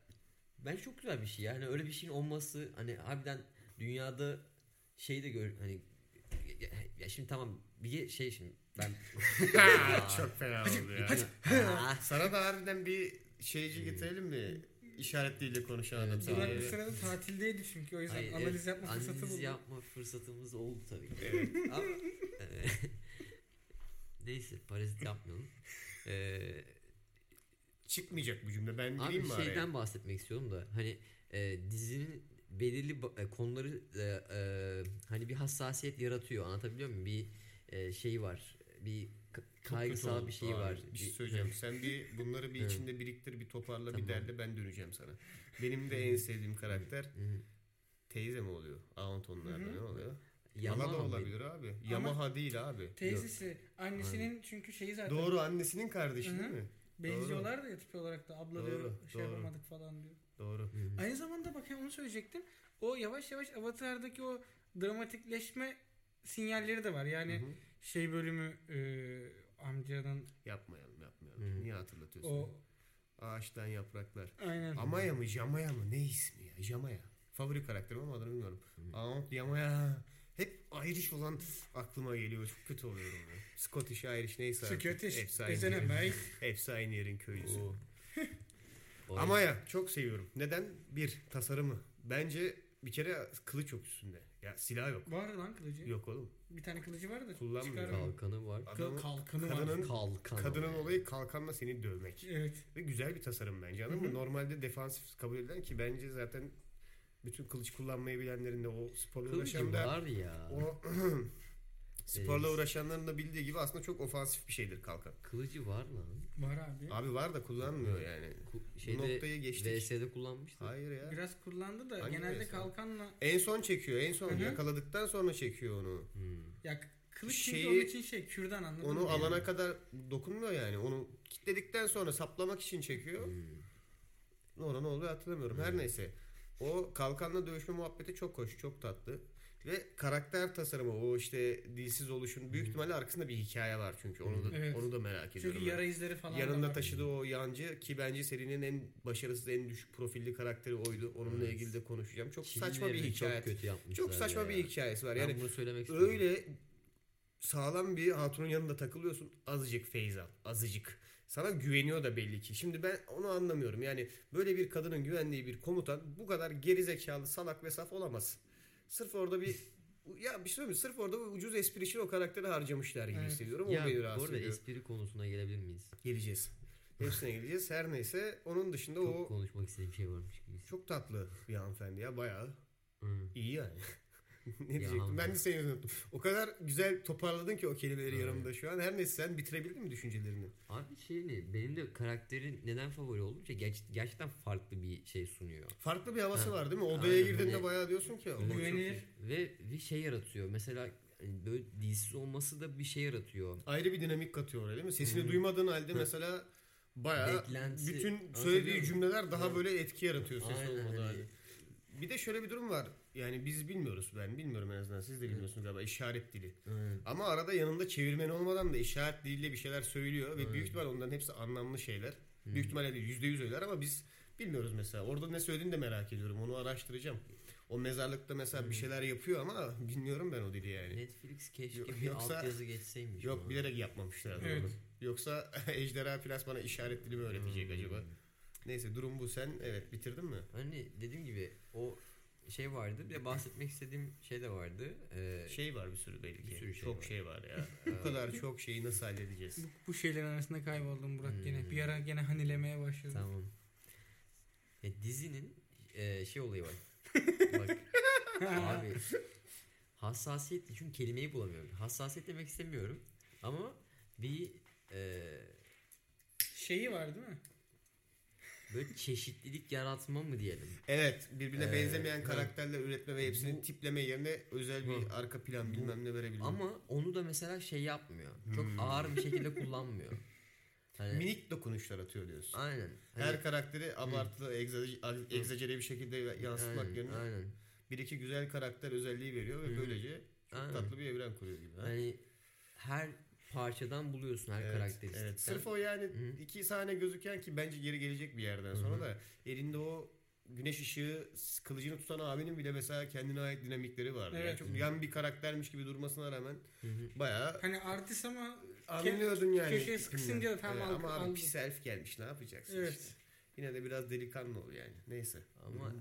[SPEAKER 6] ben çok güzel bir şey yani öyle bir şeyin olması hani harbiden dünyada şey de gör hani ya şimdi tamam bir şey şimdi ben
[SPEAKER 5] Çok fena oldu ya.
[SPEAKER 6] Ah,
[SPEAKER 5] Sana da harbiden bir şeyci getirelim mi? işaretleriyle konuşan adam.
[SPEAKER 6] Ee, Evet,
[SPEAKER 5] sanki.
[SPEAKER 3] Burak bu
[SPEAKER 6] evet.
[SPEAKER 3] sırada tatildeydi çünkü o yüzden
[SPEAKER 6] Hayır,
[SPEAKER 3] analiz
[SPEAKER 6] evet,
[SPEAKER 3] yapma fırsatı
[SPEAKER 6] analiz
[SPEAKER 3] buldum.
[SPEAKER 6] yapma fırsatımız oldu tabii ki.
[SPEAKER 5] Evet.
[SPEAKER 6] Ama, e, neyse parazit yapmayalım. E, Eee
[SPEAKER 5] Çıkmayacak bu cümle. Ben
[SPEAKER 6] Abi
[SPEAKER 5] gireyim mi
[SPEAKER 6] şeyden
[SPEAKER 5] araya?
[SPEAKER 6] bahsetmek istiyorum da hani e, dizinin belirli ba- e, konuları e, e, hani bir hassasiyet yaratıyor anlatabiliyor muyum? Bir e, şey var bir k-
[SPEAKER 5] Çok kötü
[SPEAKER 6] kaygısal
[SPEAKER 5] oldu
[SPEAKER 6] bir şey
[SPEAKER 5] abi.
[SPEAKER 6] var.
[SPEAKER 5] Bir şey söyleyeceğim. Sen bir bunları bir
[SPEAKER 6] Evet.
[SPEAKER 5] içinde biriktir, bir toparla,
[SPEAKER 6] Tamam.
[SPEAKER 5] bir derle ben döneceğim sana. Benim de en sevdiğim karakter
[SPEAKER 6] Hı hı.
[SPEAKER 5] teyze mi oluyor? Aunt onlarda ne oluyor?
[SPEAKER 6] Yama
[SPEAKER 5] Yamaha da
[SPEAKER 6] mı?
[SPEAKER 5] olabilir abi. Yamaha değil abi.
[SPEAKER 3] Teyzesi annesinin çünkü şeyi zaten
[SPEAKER 5] Doğru annesinin kardeşi
[SPEAKER 3] Hı hı.
[SPEAKER 5] değil mi?
[SPEAKER 3] benziyorlar da ya tipi olarak da abla diyor
[SPEAKER 5] Doğru,
[SPEAKER 3] şey
[SPEAKER 5] doğru.
[SPEAKER 3] yapamadık falan diyor.
[SPEAKER 5] Doğru.
[SPEAKER 6] Hı hı.
[SPEAKER 3] Aynı zamanda bak ya onu söyleyecektim. O yavaş yavaş Avatar'daki o dramatikleşme sinyalleri de var. Yani
[SPEAKER 5] Hı hı.
[SPEAKER 3] şey bölümü e, amcanın
[SPEAKER 5] Yapmayalım yapmayalım.
[SPEAKER 6] Hı.
[SPEAKER 5] Niye hatırlatıyorsun?
[SPEAKER 3] o
[SPEAKER 5] Ağaçtan yapraklar.
[SPEAKER 3] aynen.
[SPEAKER 5] Amaya mı Jamaya mı ne ismi ya Jamaya. Favori karakterim ama adını bilmiyorum. Aunt Yamaya. Hep Irish olan aklıma geliyor. Çok kötü oluyorum ya. Scottish, Irish neyse artık.
[SPEAKER 3] Scottish,
[SPEAKER 5] Hepsi aynı,
[SPEAKER 3] isn't it,
[SPEAKER 5] yerin,
[SPEAKER 3] mate?
[SPEAKER 5] hepsi aynı yerin köylüsü.
[SPEAKER 6] O-
[SPEAKER 5] Amaya çok seviyorum. Neden? Bir, tasarımı. Bence bir kere kılıç yok üstünde. Ya silah yok.
[SPEAKER 3] Var lan kılıcı.
[SPEAKER 5] Yok oğlum.
[SPEAKER 3] Bir tane kılıcı var da
[SPEAKER 5] Kullanmıyor.
[SPEAKER 3] çıkarmıyor.
[SPEAKER 6] kalkanı var.
[SPEAKER 5] Adamın,
[SPEAKER 3] kalkanı var.
[SPEAKER 5] kadının,
[SPEAKER 6] Kalkan.
[SPEAKER 5] kadının olayı kalkanla seni dövmek.
[SPEAKER 3] Evet.
[SPEAKER 5] Ve güzel bir tasarım bence anladın mı? Normalde defansif kabul edilen ki bence zaten bütün kılıç kullanmayı bilenlerin de o sporla
[SPEAKER 6] Kılıcı
[SPEAKER 5] uğraşan da
[SPEAKER 6] var ya.
[SPEAKER 5] o sporla uğraşanların da bildiği gibi aslında çok ofansif bir şeydir kalkan.
[SPEAKER 6] Kılıcı var lan.
[SPEAKER 3] Var abi.
[SPEAKER 5] Abi var da kullanmıyor yani.
[SPEAKER 6] Ku- Şeyde
[SPEAKER 5] noktaya geçtik.
[SPEAKER 6] VS'de kullanmıştı.
[SPEAKER 5] Hayır ya.
[SPEAKER 3] Biraz kullandı da
[SPEAKER 5] Hangi
[SPEAKER 3] genelde
[SPEAKER 5] resim?
[SPEAKER 3] kalkanla
[SPEAKER 5] En son çekiyor. En son
[SPEAKER 3] Hı hı.
[SPEAKER 5] yakaladıktan sonra çekiyor onu.
[SPEAKER 6] Hmm.
[SPEAKER 3] ya kılıç çünkü
[SPEAKER 5] Şeyi-
[SPEAKER 3] onun için şey kürdan anladın
[SPEAKER 5] Onu
[SPEAKER 3] mı?
[SPEAKER 5] alana kadar dokunmuyor yani. Onu kitledikten sonra saplamak için çekiyor.
[SPEAKER 3] Hmm.
[SPEAKER 5] Sonra ne oluyor hatırlamıyorum. Her neyse. O kalkanla dövüşme muhabbeti çok hoş, çok tatlı. Ve karakter tasarımı o işte dilsiz oluşun büyük ihtimalle arkasında bir hikaye var çünkü. Onu da
[SPEAKER 3] Hmm. Evet.
[SPEAKER 5] onu da merak ediyorum.
[SPEAKER 3] Çünkü
[SPEAKER 5] ben.
[SPEAKER 3] yara izleri falan da
[SPEAKER 5] Yanında
[SPEAKER 3] var.
[SPEAKER 5] taşıdığı o yancı ki bence serinin en başarısız, en düşük profilli karakteri oydu. Onunla
[SPEAKER 6] Evet.
[SPEAKER 5] ilgili de konuşacağım. Çok saçma
[SPEAKER 6] Çizimleri
[SPEAKER 5] bir hikaye.
[SPEAKER 6] Çok kötü yapmışlar.
[SPEAKER 5] Çok saçma
[SPEAKER 6] ya.
[SPEAKER 5] bir hikayesi var.
[SPEAKER 6] Ben
[SPEAKER 5] Yani
[SPEAKER 6] bunu söylemek istiyorum.
[SPEAKER 5] Öyle sağlam bir hatunun yanında takılıyorsun. Azıcık feyz al. Azıcık. Sana güveniyor da belli ki. Şimdi ben onu anlamıyorum. Yani böyle bir kadının güvendiği bir komutan bu kadar gerizekalı, salak ve saf olamaz. Sırf orada bir ya bir şey söyleyeyim mi? Sırf orada bir ucuz espri için o karakteri harcamışlar gibi
[SPEAKER 3] Evet.
[SPEAKER 5] hissediyorum.
[SPEAKER 6] Ya
[SPEAKER 5] o beni
[SPEAKER 6] bu
[SPEAKER 5] rahatsız
[SPEAKER 6] arada
[SPEAKER 5] ediyor.
[SPEAKER 6] espri konusuna gelebilir miyiz?
[SPEAKER 5] Geleceğiz. Hepsine geleceğiz. Her neyse onun dışında
[SPEAKER 6] Çok
[SPEAKER 5] o
[SPEAKER 6] konuşmak istediğim şey varmış gibi.
[SPEAKER 5] çok tatlı bir hanımefendi ya. Bayağı
[SPEAKER 6] Hı.
[SPEAKER 5] İyi yani. ne diyecektim? Ben
[SPEAKER 6] hanımefendi.
[SPEAKER 5] de seni unuttum. O kadar güzel toparladın ki o kelimeleri
[SPEAKER 6] Evet.
[SPEAKER 5] yanımda şu an. Her neyse sen bitirebildin mi düşüncelerini?
[SPEAKER 6] Abi şey ne? Benim de karakterin neden favori olunca ger- gerçekten farklı bir şey sunuyor.
[SPEAKER 5] Farklı bir havası
[SPEAKER 6] Ha.
[SPEAKER 5] var değil mi? Odaya
[SPEAKER 6] Aynen.
[SPEAKER 5] girdiğinde
[SPEAKER 6] Hani-
[SPEAKER 5] bayağı diyorsun ki. "Ulan çok
[SPEAKER 3] Güvenilir.
[SPEAKER 5] iyi."
[SPEAKER 6] Ve bir şey yaratıyor. Mesela hani böyle dilsiz olması da bir şey yaratıyor.
[SPEAKER 5] Ayrı bir dinamik katıyor oraya değil mi? Sesini duymadığın halde mesela bayağı
[SPEAKER 6] Beklenti-
[SPEAKER 5] bütün
[SPEAKER 6] Anlatabiliyor
[SPEAKER 5] söylediği
[SPEAKER 6] muyum?
[SPEAKER 5] cümleler daha
[SPEAKER 6] Evet.
[SPEAKER 5] böyle etki yaratıyor sesi
[SPEAKER 6] Aynen
[SPEAKER 5] olmadığı
[SPEAKER 6] hani-
[SPEAKER 5] halde. Bir de şöyle bir durum var. Yani biz bilmiyoruz ben bilmiyorum en azından siz de bilmiyorsunuz galiba işaret dili.
[SPEAKER 6] hmm,
[SPEAKER 5] Ama arada yanında çevirmen olmadan da işaret diliyle bir şeyler söylüyor ve büyük ihtimal onların hepsi anlamlı şeyler.
[SPEAKER 6] hmm.
[SPEAKER 5] Büyük ihtimalle de yüzde yüz öyleler ama biz bilmiyoruz mesela. Orada ne söylediğini de merak ediyorum. Onu araştıracağım. O mezarlıkta mesela
[SPEAKER 6] Hmm.
[SPEAKER 5] bir şeyler yapıyor ama bilmiyorum ben o dili yani.
[SPEAKER 6] Netflix keşke
[SPEAKER 5] Yo-
[SPEAKER 6] bir
[SPEAKER 5] yoksa-
[SPEAKER 6] altyazı geçseymiş.
[SPEAKER 5] Yok
[SPEAKER 6] ona.
[SPEAKER 5] bilerek yapmamışlar onu.
[SPEAKER 3] Evet.
[SPEAKER 5] Yoksa ejderha Firas bana işaret dili mi öğretecek
[SPEAKER 6] Hmm.
[SPEAKER 5] acaba? Neyse durum bu. Sen evet bitirdin mi?
[SPEAKER 6] Hani dediğim gibi o şey vardı. Bir de bahsetmek istediğim şey de vardı. Ee,
[SPEAKER 5] Şey var bir sürü belli ki.
[SPEAKER 6] Bir sürü şey
[SPEAKER 5] çok
[SPEAKER 6] var.
[SPEAKER 5] şey var ya. Bu kadar çok şeyi nasıl halledeceğiz?
[SPEAKER 7] Bu, bu şeylerin arasında kayboldum Burak
[SPEAKER 6] Hmm.
[SPEAKER 7] gene. Bir ara gene hanilemeye başladım.
[SPEAKER 6] Tamam. E, dizinin e, şey olayı var. Bak abi hassasiyet çünkü kelimeyi bulamıyorum. Hassasiyet demek istemiyorum ama bir e,
[SPEAKER 3] Şeyi var değil mi?
[SPEAKER 6] böyle çeşitlilik yaratma mı diyelim?
[SPEAKER 5] Evet birbirine
[SPEAKER 6] Ee,
[SPEAKER 5] benzemeyen
[SPEAKER 6] ha.
[SPEAKER 5] karakterler üretme ve hepsini
[SPEAKER 6] Bu-
[SPEAKER 5] tipleme yerine özel bir
[SPEAKER 6] Bu-
[SPEAKER 5] arka plan bilmem ne verebiliyor.
[SPEAKER 6] Ama onu da mesela şey yapmıyor. Çok ağır bir şekilde kullanmıyor. Hani,
[SPEAKER 5] Hmm. minik dokunuşlar atıyor diyorsun.
[SPEAKER 6] aynen. Hani-
[SPEAKER 5] Her karakteri abartılı, egza- egzajere bir şekilde yansıtmak
[SPEAKER 6] aynen,
[SPEAKER 5] yerine
[SPEAKER 6] aynen.
[SPEAKER 5] bir iki güzel karakter özelliği veriyor ve
[SPEAKER 6] Hı.
[SPEAKER 5] böylece çok
[SPEAKER 6] Aynen.
[SPEAKER 5] tatlı bir evren kuruyor gibi. ha?
[SPEAKER 6] Hani her parçadan buluyorsun her
[SPEAKER 5] Evet,
[SPEAKER 6] karakteristikten.
[SPEAKER 5] evet. Sırf o yani
[SPEAKER 6] Hı.
[SPEAKER 5] iki sahne gözüken ki bence geri gelecek bir yerden sonra da elinde o güneş ışığı s- kılıcını tutan abinin bile mesela kendine ait dinamikleri vardı.
[SPEAKER 3] Evet.
[SPEAKER 5] Yani çok yan bir karaktermiş gibi durmasına rağmen bayağı
[SPEAKER 3] Hani artist ama
[SPEAKER 5] Anlıyordun yani.
[SPEAKER 3] köşeye sıkışınca da tam
[SPEAKER 5] Ee,
[SPEAKER 3] aldı-
[SPEAKER 5] Ama abi
[SPEAKER 3] aldı.
[SPEAKER 5] pis herif gelmiş ne yapacaksın
[SPEAKER 3] Evet.
[SPEAKER 5] işte. Yine de biraz delikanlı ol yani. Neyse.
[SPEAKER 6] Ama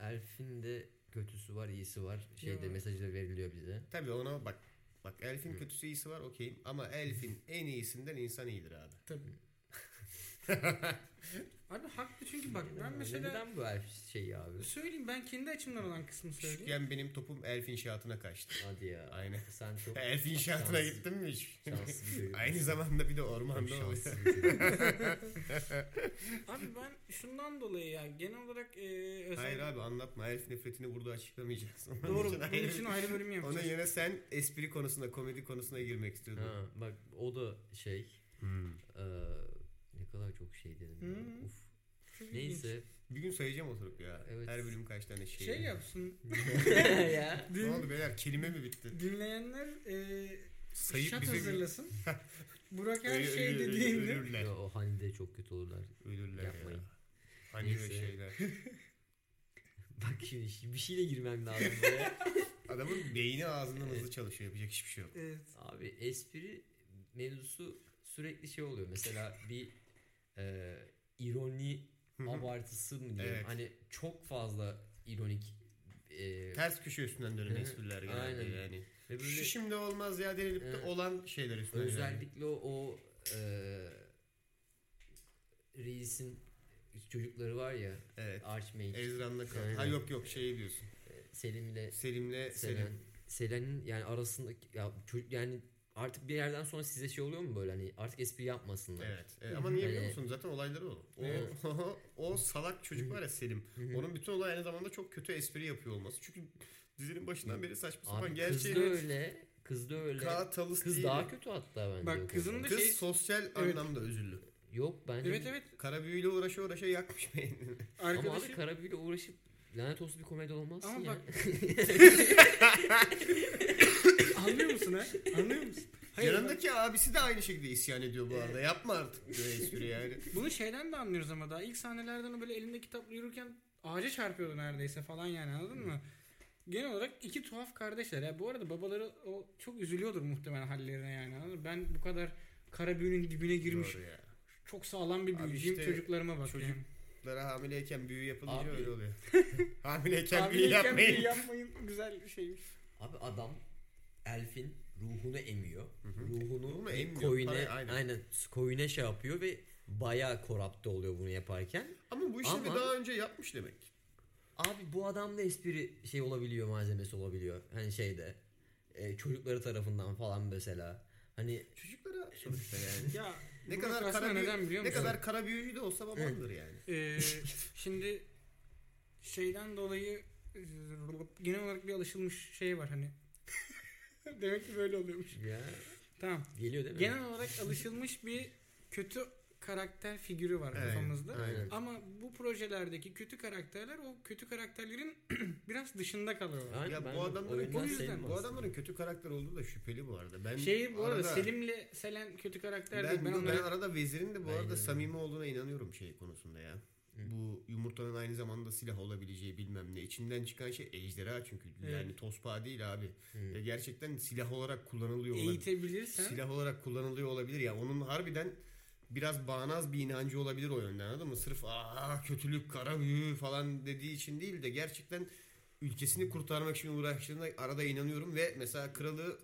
[SPEAKER 6] Elf'in de kötüsü var, iyisi var. Şey Şeyde
[SPEAKER 7] Ya.
[SPEAKER 6] mesajda veriliyor bize.
[SPEAKER 5] Tabii ona bak. Bak Elf'in kötüsü iyisi var okeyim. Ama Elf'in en iyisinden insan iyidir abi.
[SPEAKER 7] Tabii. Abi haklı çünkü bak ben
[SPEAKER 6] Yani
[SPEAKER 7] mesela
[SPEAKER 6] Neden bu Elf şeyi abi?
[SPEAKER 7] söyleyeyim ben kendi açımdan olan kısmı söyleyeyim.
[SPEAKER 5] Küçükken benim topum Elf inşaatına kaçtı.
[SPEAKER 6] Hadi ya.
[SPEAKER 5] Aynen.
[SPEAKER 6] Sen çok
[SPEAKER 5] Elf inşaatına
[SPEAKER 6] şanslı-
[SPEAKER 5] gittin mi hiç?
[SPEAKER 6] Şanslı bir çocuk.
[SPEAKER 5] Aynı zamanda bir de ormanda oluyor.
[SPEAKER 6] Şanslı bir çocuk.
[SPEAKER 7] Abi ben şundan dolayı ya genel olarak e, özel...
[SPEAKER 5] Hayır abi anlatma. Elf nefretini burada açıklamayacağız. Onun
[SPEAKER 7] Doğru
[SPEAKER 5] için
[SPEAKER 7] bunun
[SPEAKER 5] ayrı-
[SPEAKER 7] için ayrı bölüm
[SPEAKER 5] Onun
[SPEAKER 7] yapacağız.
[SPEAKER 5] yerine sen espri konusunda, komedi konusuna girmek istiyordun.
[SPEAKER 6] ha, bak o da şey.
[SPEAKER 5] Hmm.
[SPEAKER 6] eee, ne kadar çok şey dedim. ya.
[SPEAKER 7] Hmm.
[SPEAKER 6] Uf.
[SPEAKER 7] Çok ilginç.
[SPEAKER 6] Neyse.
[SPEAKER 5] Bir gün söyleyeceğim oturup ya.
[SPEAKER 6] Evet.
[SPEAKER 5] Her bölüm kaç tane şey.
[SPEAKER 7] Şey yapsın
[SPEAKER 6] ya.
[SPEAKER 5] Ne oldu beyler? Kelime mi bitti?
[SPEAKER 7] dinleyenler e,
[SPEAKER 5] Sayıp
[SPEAKER 7] şat
[SPEAKER 5] bize-
[SPEAKER 7] hazırlasın. Burak her
[SPEAKER 5] Ölü-
[SPEAKER 7] şey
[SPEAKER 5] ölü- ölü-
[SPEAKER 7] dediğinde
[SPEAKER 5] Ölürler.
[SPEAKER 6] Yo, o Hani'de çok kötü olurlar.
[SPEAKER 5] Ölürler
[SPEAKER 6] Yapmayın.
[SPEAKER 5] ya. Hani ve
[SPEAKER 6] Neyse.
[SPEAKER 5] şeyler.
[SPEAKER 6] Bak şimdi şi- bir şeyle girmem lazım buraya.
[SPEAKER 5] Adamın beyni ağzından hızlı çalışıyor. Yapacak hiçbir şey yok.
[SPEAKER 7] Evet.
[SPEAKER 6] Abi espri mevzusu sürekli şey oluyor. Mesela bir eee ironi
[SPEAKER 5] hı.
[SPEAKER 6] abartısı mı diyeyim.
[SPEAKER 5] Evet.
[SPEAKER 6] Hani çok fazla ironik eee,
[SPEAKER 5] Ters köşe üstünden dönen
[SPEAKER 6] Hı hı.
[SPEAKER 5] espriler genelde
[SPEAKER 6] Aynen.
[SPEAKER 5] yani.
[SPEAKER 6] ve
[SPEAKER 5] Şu
[SPEAKER 6] böyle
[SPEAKER 5] şimdi olmaz ya denilip de
[SPEAKER 6] Evet.
[SPEAKER 5] olan şeyler üstünden. yani.
[SPEAKER 6] özellikle o, o e, eee, reisin çocukları var ya
[SPEAKER 5] Evet.
[SPEAKER 6] Archmage
[SPEAKER 5] Ezran'la kal.
[SPEAKER 6] Aynen.
[SPEAKER 5] Ha yok yok şey diyorsun.
[SPEAKER 6] Selim ile
[SPEAKER 5] Selim'le
[SPEAKER 6] Selen.
[SPEAKER 5] Selim.
[SPEAKER 6] Selen'in yani arasındaki ya çocuk yani artık bir yerden sonra size şey oluyor mu böyle hani artık espri yapmasınlar.
[SPEAKER 5] Evet. E, ama niye biliyor
[SPEAKER 6] Ee,
[SPEAKER 5] musun? Zaten olayları o. O,
[SPEAKER 6] Evet.
[SPEAKER 5] o salak çocuk var ya Selim.
[SPEAKER 6] Hı hı.
[SPEAKER 5] Onun bütün olay aynı zamanda çok kötü espri yapıyor olması. Çünkü dizinin başından beri saçma sapan
[SPEAKER 6] Abi kız da
[SPEAKER 5] gerçeği
[SPEAKER 6] öyle, kız da öyle.
[SPEAKER 5] Ka Talus
[SPEAKER 6] kız
[SPEAKER 5] değil.
[SPEAKER 6] daha kötü hatta bence.
[SPEAKER 7] Bak
[SPEAKER 6] o konuda.
[SPEAKER 7] kızın da-
[SPEAKER 5] Kız
[SPEAKER 7] Şey-
[SPEAKER 5] sosyal anlamda özürlü.
[SPEAKER 6] Yok bence.
[SPEAKER 7] Evet evet.
[SPEAKER 5] Kara büyüyle uğraşa uğraşa yakmış beynini.
[SPEAKER 6] Ama abi
[SPEAKER 7] Arkadaşı
[SPEAKER 6] Karabüyle uğraşıp lanet olsun bir komedi olmazsın
[SPEAKER 7] Ama
[SPEAKER 6] ya.
[SPEAKER 7] bak- anlıyor musun ha? Anlıyor musun? Hayır.
[SPEAKER 5] Yanındaki abisi de aynı şekilde isyan ediyor bu arada. Yapma artık diyor espri yani.
[SPEAKER 7] Bunu şeyden de anlıyoruz ama daha ilk sahnelerden o böyle elinde kitapla yürürken ağaca çarpıyordu neredeyse falan yani anladın mı? Genel olarak iki tuhaf kardeşler. Ya bu arada babaları o çok üzülüyordur muhtemelen hallerine yani. anladın mı? Ben bu kadar kara büyünün dibine girmiş.
[SPEAKER 5] Doğru ya.
[SPEAKER 7] Çok sağlam bir
[SPEAKER 5] Abi
[SPEAKER 7] büyücüyüm
[SPEAKER 5] işte
[SPEAKER 7] çocuklarıma bak.
[SPEAKER 5] çocuk-
[SPEAKER 7] yani.
[SPEAKER 5] Lara hamileyken büyü yapılınca
[SPEAKER 6] Abi.
[SPEAKER 5] öyle oluyor. hamileyken büyü
[SPEAKER 7] Hamileyken
[SPEAKER 5] yapmayın.
[SPEAKER 7] büyü yapmayın. Güzel bir şeymiş.
[SPEAKER 6] Abi adam elfin ruhunu emiyor. Ruhunu
[SPEAKER 5] Ruhunu
[SPEAKER 6] bir
[SPEAKER 5] emmiyor.
[SPEAKER 6] koyuna
[SPEAKER 5] Parayı-
[SPEAKER 6] aynen.
[SPEAKER 5] aynen.
[SPEAKER 6] koyuna şey yapıyor ve bayağı korapte oluyor bunu yaparken.
[SPEAKER 5] Ama bu işlemi
[SPEAKER 6] Ama-
[SPEAKER 5] daha önce yapmış demek.
[SPEAKER 6] Abi bu adamda espri şey olabiliyor malzemesi olabiliyor. Hani şeyde e, çocukları tarafından falan mesela. Hani
[SPEAKER 5] Çocuklara sonuçta yani.
[SPEAKER 7] Ya
[SPEAKER 5] ne
[SPEAKER 7] Burak
[SPEAKER 5] kadar
[SPEAKER 7] aslında
[SPEAKER 5] kara büyü,
[SPEAKER 7] neden biliyor
[SPEAKER 5] ne
[SPEAKER 7] musun?
[SPEAKER 5] kadar kara büyücü de olsa babandır yani.
[SPEAKER 7] Ee, şimdi şeyden dolayı e, genel olarak bir alışılmış şey var hani. Demek ki böyle oluyormuş.
[SPEAKER 6] ya
[SPEAKER 7] Tamam.
[SPEAKER 6] geliyor değil mi?
[SPEAKER 7] Genel olarak alışılmış bir kötü karakter figürü var
[SPEAKER 5] Evet,
[SPEAKER 7] kafamızda.
[SPEAKER 5] aynen.
[SPEAKER 7] Ama bu projelerdeki kötü karakterler o kötü karakterlerin biraz dışında kalıyorlar.
[SPEAKER 6] Aynen,
[SPEAKER 5] Ya
[SPEAKER 6] ben
[SPEAKER 5] bu adamların,
[SPEAKER 6] oyundan
[SPEAKER 7] o yüzden-
[SPEAKER 6] sevmem
[SPEAKER 5] bu
[SPEAKER 6] aslında.
[SPEAKER 5] adamların kötü karakter olduğu da şüpheli bu arada. Ben
[SPEAKER 7] Şey bu arada,
[SPEAKER 5] arada-
[SPEAKER 7] Selim'le Selen kötü karakter
[SPEAKER 5] Ben,
[SPEAKER 7] değil. Ben,
[SPEAKER 5] ben,
[SPEAKER 7] onlara-
[SPEAKER 5] arada Vezir'in de bu
[SPEAKER 6] Aynen
[SPEAKER 5] arada
[SPEAKER 6] öyle.
[SPEAKER 5] samimi olduğuna inanıyorum şey konusunda ya. Bu yumurtanın aynı zamanda silah olabileceği bilmem ne. İçinden çıkan şey ejderha çünkü. Yani tospa değil abi. Ya gerçekten silah olarak kullanılıyor olabilir.
[SPEAKER 7] eğitebilirsen
[SPEAKER 5] Silah olarak kullanılıyor olabilir ya. Onun harbiden biraz bağnaz bir inancı olabilir o yönden anladın mı? Sırf aa kötülük, kara büyü falan dediği için değil de gerçekten ülkesini kurtarmak için uğraştığına arada inanıyorum ve mesela kralı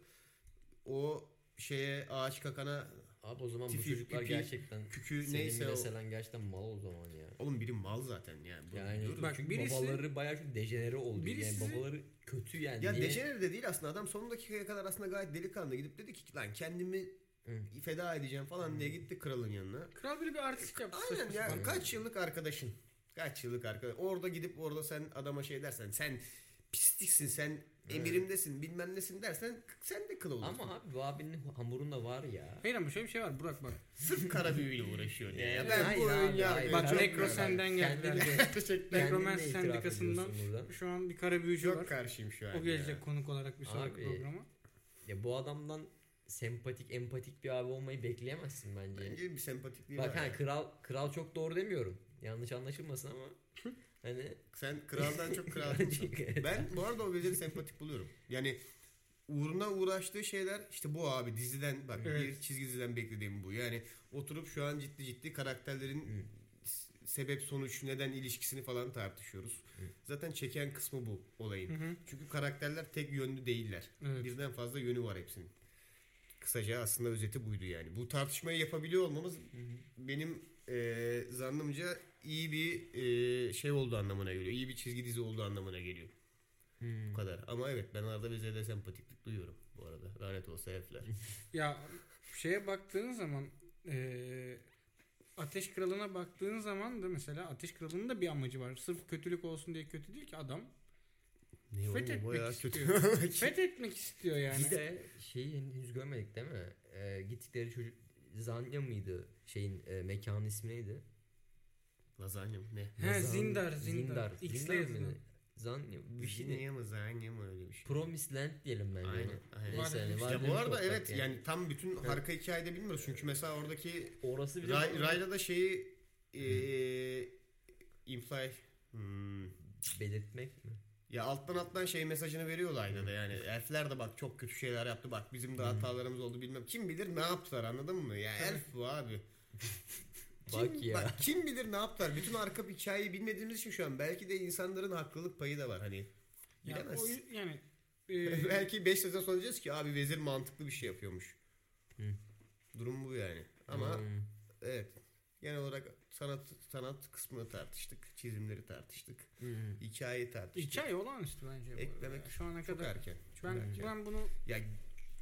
[SPEAKER 5] o şeye ağaç kakana
[SPEAKER 6] Abi o zaman bu
[SPEAKER 5] Tipi,
[SPEAKER 6] çocuklar
[SPEAKER 5] pipi,
[SPEAKER 6] gerçekten
[SPEAKER 5] kükü,
[SPEAKER 6] Selim
[SPEAKER 5] neyse
[SPEAKER 6] ile
[SPEAKER 5] o.
[SPEAKER 6] Selen gerçekten mal o zaman ya.
[SPEAKER 5] Oğlum biri mal zaten yani. Bunu
[SPEAKER 6] Yani
[SPEAKER 5] biliyoruz.
[SPEAKER 7] Bak,
[SPEAKER 6] çünkü
[SPEAKER 7] birisi-
[SPEAKER 6] babaları bayağı çok dejenere oldu.
[SPEAKER 7] birisi-
[SPEAKER 6] yani babaları kötü yani.
[SPEAKER 5] ya
[SPEAKER 6] Niye-
[SPEAKER 5] dejenere de değil aslında adam son dakikaya kadar aslında gayet delikanlı gidip dedi ki lan kendimi
[SPEAKER 6] Hı.
[SPEAKER 5] feda edeceğim falan diye gitti kralın yanına.
[SPEAKER 7] kral böyle bir artist yaptı.
[SPEAKER 5] Aynen
[SPEAKER 7] saçma
[SPEAKER 5] ya
[SPEAKER 7] sapan.
[SPEAKER 5] kaç yıllık arkadaşın. Kaç yıllık arkadaş. Orada gidip orada sen adama şey dersen sen pisliksin sen emirimdesin bilmem nesin dersen sen de kıl olursun.
[SPEAKER 6] Ama abi bu abinin hamurunda var ya.
[SPEAKER 7] Hayır ama şöyle bir şey var Burak bak.
[SPEAKER 5] Sırf kara büyüyle uğraşıyor diye.
[SPEAKER 6] Yani
[SPEAKER 5] Ya ben
[SPEAKER 6] hayır
[SPEAKER 5] bu oyun
[SPEAKER 6] abi, hayır.
[SPEAKER 5] ya.
[SPEAKER 7] Bak
[SPEAKER 5] Çok-
[SPEAKER 7] Necrosen'den geldiler.
[SPEAKER 6] Kendini-
[SPEAKER 5] Gerçekten
[SPEAKER 6] Kendin de
[SPEAKER 7] Necromans
[SPEAKER 6] itiraf
[SPEAKER 7] Sendikası'ndan
[SPEAKER 6] ediyorsun buradan.
[SPEAKER 7] şu an bir kara büyücü var.
[SPEAKER 5] çok karşıyım şu an.
[SPEAKER 7] O gelecek
[SPEAKER 5] ya.
[SPEAKER 7] konuk olarak bir sonraki
[SPEAKER 6] Abi.
[SPEAKER 7] programa.
[SPEAKER 6] Ya bu adamdan sempatik, empatik bir abi olmayı bekleyemezsin bence.
[SPEAKER 5] Bence bir sempatikliği
[SPEAKER 6] Bak
[SPEAKER 5] var.
[SPEAKER 6] hani
[SPEAKER 5] ya.
[SPEAKER 6] kral kral çok doğru demiyorum. Yanlış anlaşılmasın ama hani
[SPEAKER 5] Sen kraldan çok kralsın.
[SPEAKER 6] Evet.
[SPEAKER 5] ben bu arada o veziri sempatik buluyorum. Yani uğruna uğraştığı şeyler işte bu abi diziden bak
[SPEAKER 7] Evet.
[SPEAKER 5] bir çizgi diziden beklediğim bu. Yani oturup şu an ciddi ciddi karakterlerin s- sebep sonuç neden ilişkisini falan tartışıyoruz. Zaten çeken kısmı bu olayın. Çünkü karakterler tek yönlü değiller.
[SPEAKER 7] Evet.
[SPEAKER 5] Birden fazla yönü var hepsinin. Kısaca aslında özeti buydu yani. Bu tartışmayı yapabiliyor olmamız benim e, zannımca iyi bir e, şey olduğu anlamına geliyor. İyi bir çizgi dizi olduğu anlamına geliyor.
[SPEAKER 7] Hmm.
[SPEAKER 5] Bu kadar. Ama evet ben arada bize de sempatiklik duyuyorum bu arada. Lanet olsa herifler.
[SPEAKER 7] Ya şeye baktığın zaman eee, Ateş Kralı'na baktığın zaman da mesela Ateş Kralı'nın da bir amacı var. Sırf kötülük olsun diye kötü değil ki adam.
[SPEAKER 5] ne oğlum,
[SPEAKER 7] Fethetmek
[SPEAKER 5] bayağı
[SPEAKER 7] istiyor. Fethetmek istiyor yani.
[SPEAKER 6] Bir de şey, şeyi henüz görmedik değil mi? Ee, gittikleri çocuk Zanya mıydı? Şeyin e, mekanın ismi neydi?
[SPEAKER 5] Lazanya mı? Ne?
[SPEAKER 7] He,
[SPEAKER 6] Lazan-
[SPEAKER 7] Zindar, Zindar. X'le
[SPEAKER 6] Zindar mı?
[SPEAKER 7] yazılan.
[SPEAKER 6] Zanya bir şey
[SPEAKER 5] Disney
[SPEAKER 6] de.
[SPEAKER 5] ama Zanya mı öyle bir şey.
[SPEAKER 6] Promised Land diyelim bence.
[SPEAKER 5] Aynen,
[SPEAKER 6] ona.
[SPEAKER 5] aynen.
[SPEAKER 6] Neyse, hani
[SPEAKER 5] ya
[SPEAKER 6] varlığını
[SPEAKER 5] bu arada
[SPEAKER 6] toprak
[SPEAKER 5] evet yani. tam bütün harika hikayede bilmiyoruz. Çünkü mesela oradaki
[SPEAKER 6] Orası bir de-
[SPEAKER 5] Ray, Rayla da şeyi eee imply hmm.
[SPEAKER 6] belirtmek mi?
[SPEAKER 5] ya alttan alttan şey mesajını veriyor Rayla da yani elfler de bak çok kötü şeyler yaptı bak bizim de hatalarımız oldu bilmem kim bilir ne yaptılar anladın mı ya elf bu abi kim,
[SPEAKER 6] Bak ya.
[SPEAKER 5] Bak, kim bilir ne yaptılar bütün arka hikayeyi bilmediğimiz için şu an belki de insanların haklılık payı da var hani
[SPEAKER 7] Ya
[SPEAKER 5] bilemezsin.
[SPEAKER 7] o yü- yani e, eee,
[SPEAKER 5] Belki 5 sezon sonra diyeceğiz ki abi vezir mantıklı bir şey yapıyormuş. Durum bu yani. Ama
[SPEAKER 6] Hmm.
[SPEAKER 5] evet. Genel olarak sanat sanat kısmını tartıştık. Çizimleri tartıştık.
[SPEAKER 6] Hmm.
[SPEAKER 5] Hikayeyi tartıştık.
[SPEAKER 7] hikaye olan işte bence. bu arada
[SPEAKER 5] Eklemek
[SPEAKER 7] ya. şu ana
[SPEAKER 5] Çok
[SPEAKER 7] kadar.
[SPEAKER 5] erken. Çok
[SPEAKER 7] ben
[SPEAKER 5] erken.
[SPEAKER 7] ben bunu
[SPEAKER 5] Ya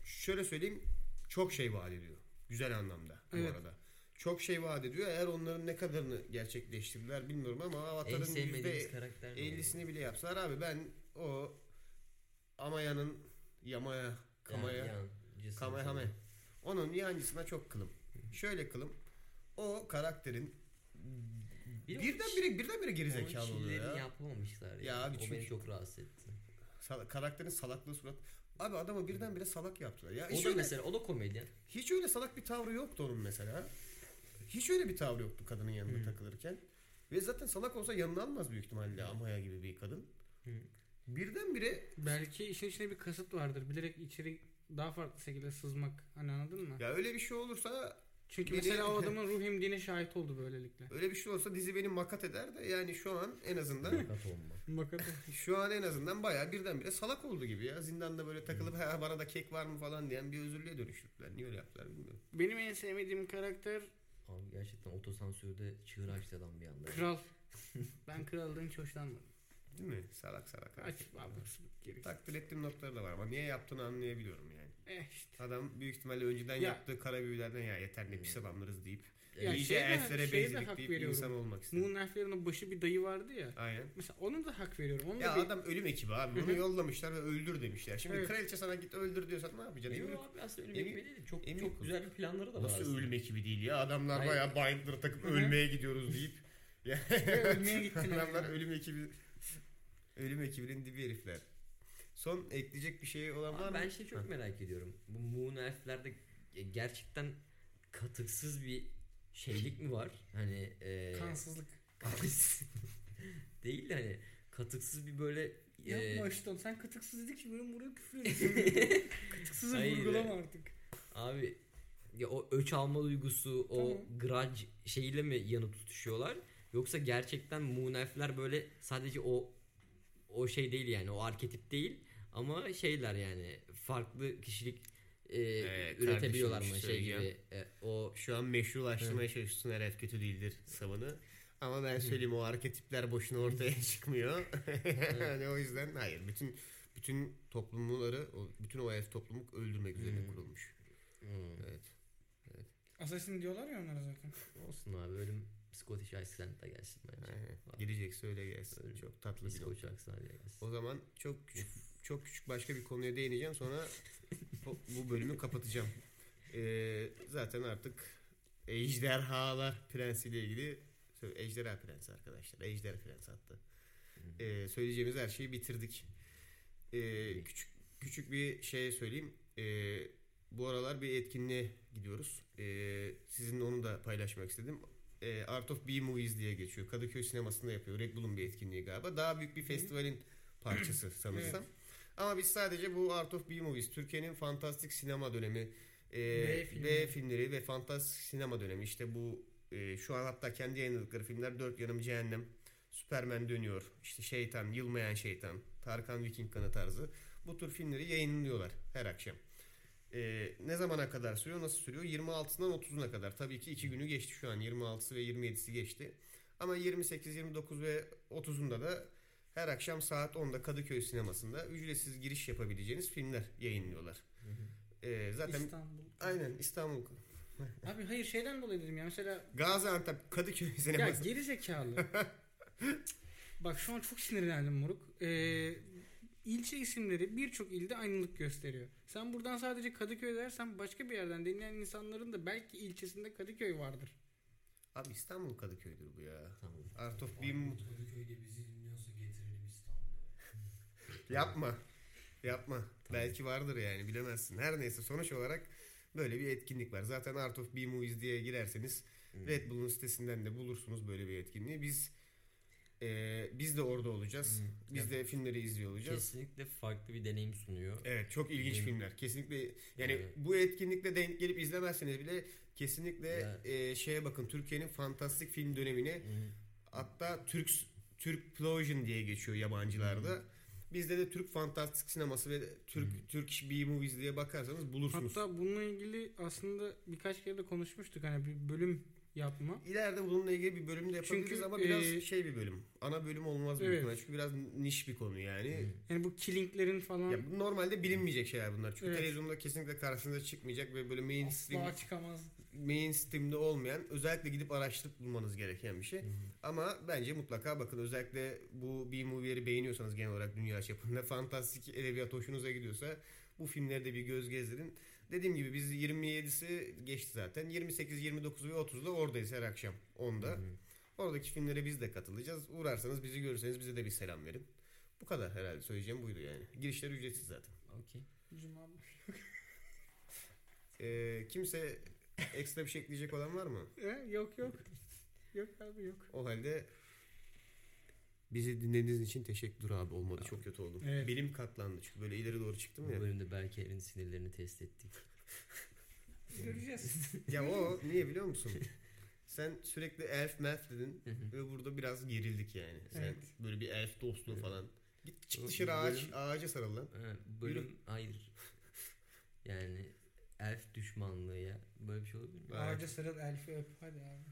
[SPEAKER 5] şöyle söyleyeyim çok şey vaat ediyor. Güzel anlamda
[SPEAKER 7] Evet.
[SPEAKER 5] bu arada. Çok şey vaat ediyor. Eğer onların ne kadarını gerçekleştirdiler bilmiyorum ama
[SPEAKER 6] En
[SPEAKER 5] Avatar'ın
[SPEAKER 6] sevmediğimiz
[SPEAKER 5] yüzde
[SPEAKER 6] karakter ne?
[SPEAKER 5] 50'sini bile yapsalar abi ben o Amaya'nın Yamaya Kamaya
[SPEAKER 6] yancısı
[SPEAKER 5] Kamehame.
[SPEAKER 6] falan.
[SPEAKER 5] Onun yancısına çok kılım. Şöyle kılım. O karakterin
[SPEAKER 6] Bir-
[SPEAKER 5] birdenbire birdenbire gerizekalı
[SPEAKER 6] Onun
[SPEAKER 5] oluyor
[SPEAKER 6] çillerini
[SPEAKER 5] ya.
[SPEAKER 6] yapmamışlar. Ya.
[SPEAKER 5] Ya abi
[SPEAKER 6] o
[SPEAKER 5] çünkü-
[SPEAKER 6] beni çok rahatsız etti.
[SPEAKER 5] Sal- karakterin salaklığı surat. Abi adamı birdenbire salak yaptılar. Ya
[SPEAKER 6] O
[SPEAKER 5] hiç
[SPEAKER 6] da
[SPEAKER 5] öyle,
[SPEAKER 6] mesela o da komedyen.
[SPEAKER 5] hiç öyle salak bir tavrı yoktu onun mesela. Hiç öyle bir tavrı yoktu kadının yanında
[SPEAKER 6] Hmm.
[SPEAKER 5] takılırken. Ve zaten salak olsa yanına almaz büyük ihtimalle
[SPEAKER 6] Hmm.
[SPEAKER 5] Amaya gibi bir kadın. Birdenbire
[SPEAKER 7] belki işin içinde bir kasıt vardır. Bilerek içeri daha farklı şekilde sızmak. Hani anladın mı?
[SPEAKER 5] ya öyle bir şey olursa
[SPEAKER 7] Çünkü
[SPEAKER 5] biri-
[SPEAKER 7] mesela o adamın ruhim dine şahit oldu böylelikle.
[SPEAKER 5] öyle bir şey olsa dizi beni makat eder de yani şu an en azından
[SPEAKER 6] Kat olma.
[SPEAKER 7] Bakalım.
[SPEAKER 5] Şu an en azından bayağı birdenbire salak oldu gibi ya. Zindanda böyle takılıp
[SPEAKER 6] Hmm.
[SPEAKER 5] ha bana da kek var mı falan diyen bir özürlüye dönüştürdüler. Niye öyle yaptılar bilmiyorum.
[SPEAKER 7] Benim en sevmediğim karakter
[SPEAKER 6] Abi gerçekten otosansürde çığır açtı adam bir anda.
[SPEAKER 7] Kral. ben kraldan hiç hoşlanmadım.
[SPEAKER 5] Değil mi? Salak salak.
[SPEAKER 7] Açık bağlamak gerekiyor.
[SPEAKER 5] Takdir ettiğim noktaları da var ama niye yaptığını anlayabiliyorum yani.
[SPEAKER 7] Eh işte.
[SPEAKER 5] Adam büyük ihtimalle önceden
[SPEAKER 7] Ya-
[SPEAKER 5] yaptığı kara büyülerden ya yeter ne pis adamlarız deyip
[SPEAKER 7] Ya
[SPEAKER 5] iyice
[SPEAKER 7] şeye de-
[SPEAKER 5] elflere
[SPEAKER 7] şeye de
[SPEAKER 5] benzedik
[SPEAKER 7] hak
[SPEAKER 5] deyip
[SPEAKER 7] veriyorum.
[SPEAKER 5] insan olmak istedi.
[SPEAKER 7] Moon Knight'ların başı bir dayı vardı ya.
[SPEAKER 5] Aynen.
[SPEAKER 7] Mesela ona da hak veriyorum. Onu
[SPEAKER 5] Ya
[SPEAKER 7] da bir-
[SPEAKER 5] adam ölüm ekibi abi. Bunu yollamışlar ve öldür demişler. Şimdi
[SPEAKER 7] Evet.
[SPEAKER 5] kraliçe sana git öldür diyorsan ne yapacaksın?
[SPEAKER 6] Emin
[SPEAKER 5] Ölüm-
[SPEAKER 6] abi aslında ölüm
[SPEAKER 5] Emin-
[SPEAKER 6] ekmeği değil. Çok,
[SPEAKER 5] Emin
[SPEAKER 6] çok
[SPEAKER 5] kız.
[SPEAKER 6] güzel bir planları da var
[SPEAKER 5] Nasıl
[SPEAKER 6] aslında.
[SPEAKER 5] ölüm ekibi değil ya? Adamlar
[SPEAKER 6] Hayır.
[SPEAKER 5] bayağı bindler'ı takıp ölmeye gidiyoruz deyip. Yani
[SPEAKER 7] ölmeye gittiler
[SPEAKER 5] Adamlar
[SPEAKER 7] ya.
[SPEAKER 5] ölüm ekibi ölüm ekibinin dibi herifler. Son ekleyecek bir şey olan var
[SPEAKER 6] Ama
[SPEAKER 5] mı?
[SPEAKER 6] ben şey çok merak ediyorum. Bu Moon Elf'lerde gerçekten katıksız bir şeylik mi var? Hani e,
[SPEAKER 7] kansızlık.
[SPEAKER 6] değil de hani katıksız bir böyle e,
[SPEAKER 7] Yapma
[SPEAKER 5] ee,
[SPEAKER 7] işte oğlum, sen katıksız dedik ki benim buraya küfür ediyorsun. Katıksızı
[SPEAKER 6] Hayır.
[SPEAKER 7] vurgulama artık.
[SPEAKER 6] abi ya o öç alma duygusu o grudge şeyle mi yanı tutuşuyorlar? Yoksa gerçekten Moon Elf'ler böyle sadece o o şey değil yani o arketip değil ama şeyler yani farklı kişilik e,
[SPEAKER 5] Ee, kardeşim,
[SPEAKER 6] üretebiliyorlar
[SPEAKER 5] bir
[SPEAKER 6] mı
[SPEAKER 5] şey
[SPEAKER 6] şey gibi
[SPEAKER 5] söyleyeceğim.
[SPEAKER 6] E, o
[SPEAKER 5] Şu an meşrulaştırmaya çalışıyorsun her herif kötü değildir savını. Ama ben söyleyeyim o arketipler boşuna ortaya çıkmıyor. yani o yüzden hayır. Bütün bütün toplumları, o- bütün o elf toplumu öldürmek üzerine kurulmuş.
[SPEAKER 6] Hmm.
[SPEAKER 5] Evet.
[SPEAKER 7] Assassin diyorlar ya onlara zaten.
[SPEAKER 6] Olsun abi ölüm Scottish Iceland'a gelsin bence.
[SPEAKER 5] Aynen. Gelecekse öyle gelsin.
[SPEAKER 6] Öyle.
[SPEAKER 5] Çok tatlı bir
[SPEAKER 6] Scottish
[SPEAKER 5] nokta.
[SPEAKER 6] Iceland'a gelsin.
[SPEAKER 5] O zaman çok küçük, çok küçük başka bir konuya değineceğim. Sonra bu- bu bölümü kapatacağım. Ee, zaten artık Ejderhalar Prensi ile ilgili sö- Ejderha Prensi arkadaşlar. Ejder Prensi hatta. Ee, söyleyeceğimiz her şeyi bitirdik. Ee, küçük küçük bir şey söyleyeyim. Ee, bu aralar bir etkinliğe gidiyoruz. Ee, sizinle onu da paylaşmak istedim. Ee, Art of B-Movies diye geçiyor. Kadıköy sinemasında yapıyor. Red Bull'un bir etkinliği galiba. Daha büyük bir festivalin parçası sanırsam. Ama biz sadece bu Art of B-Movies, Türkiye'nin fantastik sinema dönemi, e,
[SPEAKER 7] B
[SPEAKER 5] B,
[SPEAKER 7] filmi.
[SPEAKER 5] filmleri ve fantastik sinema dönemi işte bu e, şu an hatta kendi yayınladıkları filmler Dört Yanım Cehennem, Superman Dönüyor, işte Şeytan, Yılmayan Şeytan, Tarkan Viking Kanı tarzı bu tür filmleri yayınlıyorlar her akşam. E, ne zamana kadar sürüyor, nasıl sürüyor? 26'sından 30'una kadar. Tabii ki iki günü geçti şu an. 26'sı ve 27'si geçti. Ama 28, 29 ve 30'unda da her akşam saat 10'da Kadıköy sinemasında ücretsiz giriş yapabileceğiniz filmler yayınlıyorlar. E, zaten
[SPEAKER 7] İstanbul.
[SPEAKER 5] aynen İstanbul
[SPEAKER 7] Abi hayır şeyden dolayı dedim ya mesela
[SPEAKER 5] Gaziantep Kadıköy
[SPEAKER 7] ya
[SPEAKER 5] sineması.
[SPEAKER 7] geri zekalı. Bak şu an çok sinirlendim moruk. Ee, ilçe isimleri birçok ilde aynılık gösteriyor. Sen buradan sadece Kadıköy dersen başka bir yerden dinleyen insanların da belki ilçesinde Kadıköy vardır.
[SPEAKER 5] Abi İstanbul Kadıköy'dür bu ya.
[SPEAKER 6] Tamam.
[SPEAKER 5] Art of Beam
[SPEAKER 4] Kadıköy'de bizi dinliyorsa getirelim İstanbul'a.
[SPEAKER 5] yapma. Yapma. Belki vardır yani bilemezsin. Her neyse sonuç olarak böyle bir etkinlik var. Zaten Art of Be Movies diye girerseniz
[SPEAKER 6] Hmm.
[SPEAKER 5] Red Bull'un sitesinden de bulursunuz böyle bir etkinliği. Biz e, biz de orada olacağız.
[SPEAKER 6] Hmm.
[SPEAKER 5] Biz de filmleri izliyor olacağız.
[SPEAKER 6] Kesinlikle farklı bir deneyim sunuyor.
[SPEAKER 5] Evet çok ilginç
[SPEAKER 6] Benim-
[SPEAKER 5] filmler. Kesinlikle yani
[SPEAKER 6] Evet.
[SPEAKER 5] bu etkinlikle denk gelip izlemezseniz bile kesinlikle
[SPEAKER 6] Ya.
[SPEAKER 5] e, şeye bakın Türkiye'nin fantastik film dönemine
[SPEAKER 6] Hı.
[SPEAKER 5] hatta Türk Türk Plosion diye geçiyor yabancılarda. Bizde de Türk fantastik sineması ve Türk Türk B movies diye bakarsanız bulursunuz.
[SPEAKER 7] Hatta bununla ilgili aslında birkaç kere de konuşmuştuk hani bir bölüm yapma.
[SPEAKER 5] İleride bununla ilgili bir bölüm de yapabiliriz
[SPEAKER 7] Çünkü,
[SPEAKER 5] ama biraz
[SPEAKER 7] e,
[SPEAKER 5] şey bir bölüm. Ana bölüm olmaz büyük
[SPEAKER 7] Evet.
[SPEAKER 5] ihtimalle. Çünkü biraz niş bir konu yani.
[SPEAKER 7] Yani bu killinglerin falan
[SPEAKER 5] Ya bu normalde bilinmeyecek şeyler bunlar. Çünkü
[SPEAKER 7] Evet.
[SPEAKER 5] televizyonda kesinlikle karşınıza çıkmayacak ve böyle mainstream
[SPEAKER 7] asla çıkamaz.
[SPEAKER 5] mainstream'de olmayan özellikle gidip araştırıp bulmanız gereken bir şey. Ama bence mutlaka bakın özellikle bu B-movie'leri beğeniyorsanız genel olarak dünya çapında fantastik edebiyat hoşunuza gidiyorsa bu filmlerde bir göz gezdirin. Dediğim gibi biz 27'si geçti zaten. 28, 29 ve 30'da oradayız her akşam 10'da. Oradaki filmlere biz de katılacağız. Uğrarsanız bizi görürseniz bize de bir selam verin. Bu kadar herhalde söyleyeceğim buydu yani. Girişler ücretsiz zaten.
[SPEAKER 6] Okey.
[SPEAKER 7] Cuma günü.
[SPEAKER 5] Ee, kimse ekstra bir şey ekleyecek olan var mı?
[SPEAKER 7] E, yok yok. yok abi yok.
[SPEAKER 5] O halde bizi dinlediğiniz için teşekkür abi olmadı. Çok kötü oldum.
[SPEAKER 7] Evet.
[SPEAKER 5] Belim katlandı çünkü böyle ileri doğru çıktım
[SPEAKER 6] Bu
[SPEAKER 5] ya.
[SPEAKER 6] bölümde belki elin sinirlerini test ettik.
[SPEAKER 7] Göreceğiz.
[SPEAKER 5] ya o niye biliyor musun? Sen sürekli elf melf dedin ve burada biraz gerildik yani. Sen
[SPEAKER 7] Evet.
[SPEAKER 5] böyle bir elf dostluğu falan. Git çık
[SPEAKER 6] Bu
[SPEAKER 5] dışarı ağaç,
[SPEAKER 6] bölüm-
[SPEAKER 5] ağaca sarıl lan.
[SPEAKER 6] Ha, bölüm hayır. Yani elf düşmanlığı ya. Böyle bir şey olabilir mi?
[SPEAKER 5] Ağaca
[SPEAKER 7] Ağaca sarıl elfi öp hadi abi.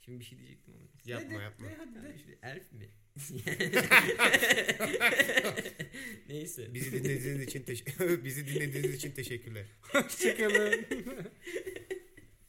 [SPEAKER 6] Şimdi bir şey diyecektim ama.
[SPEAKER 5] Yapma yapma.
[SPEAKER 7] Ne hadi de.
[SPEAKER 6] Yani şimdi elf mi? Neyse.
[SPEAKER 5] Bizi dinlediğiniz için teş- bizi dinlediğiniz için teşekkürler.
[SPEAKER 7] Hoşçakalın.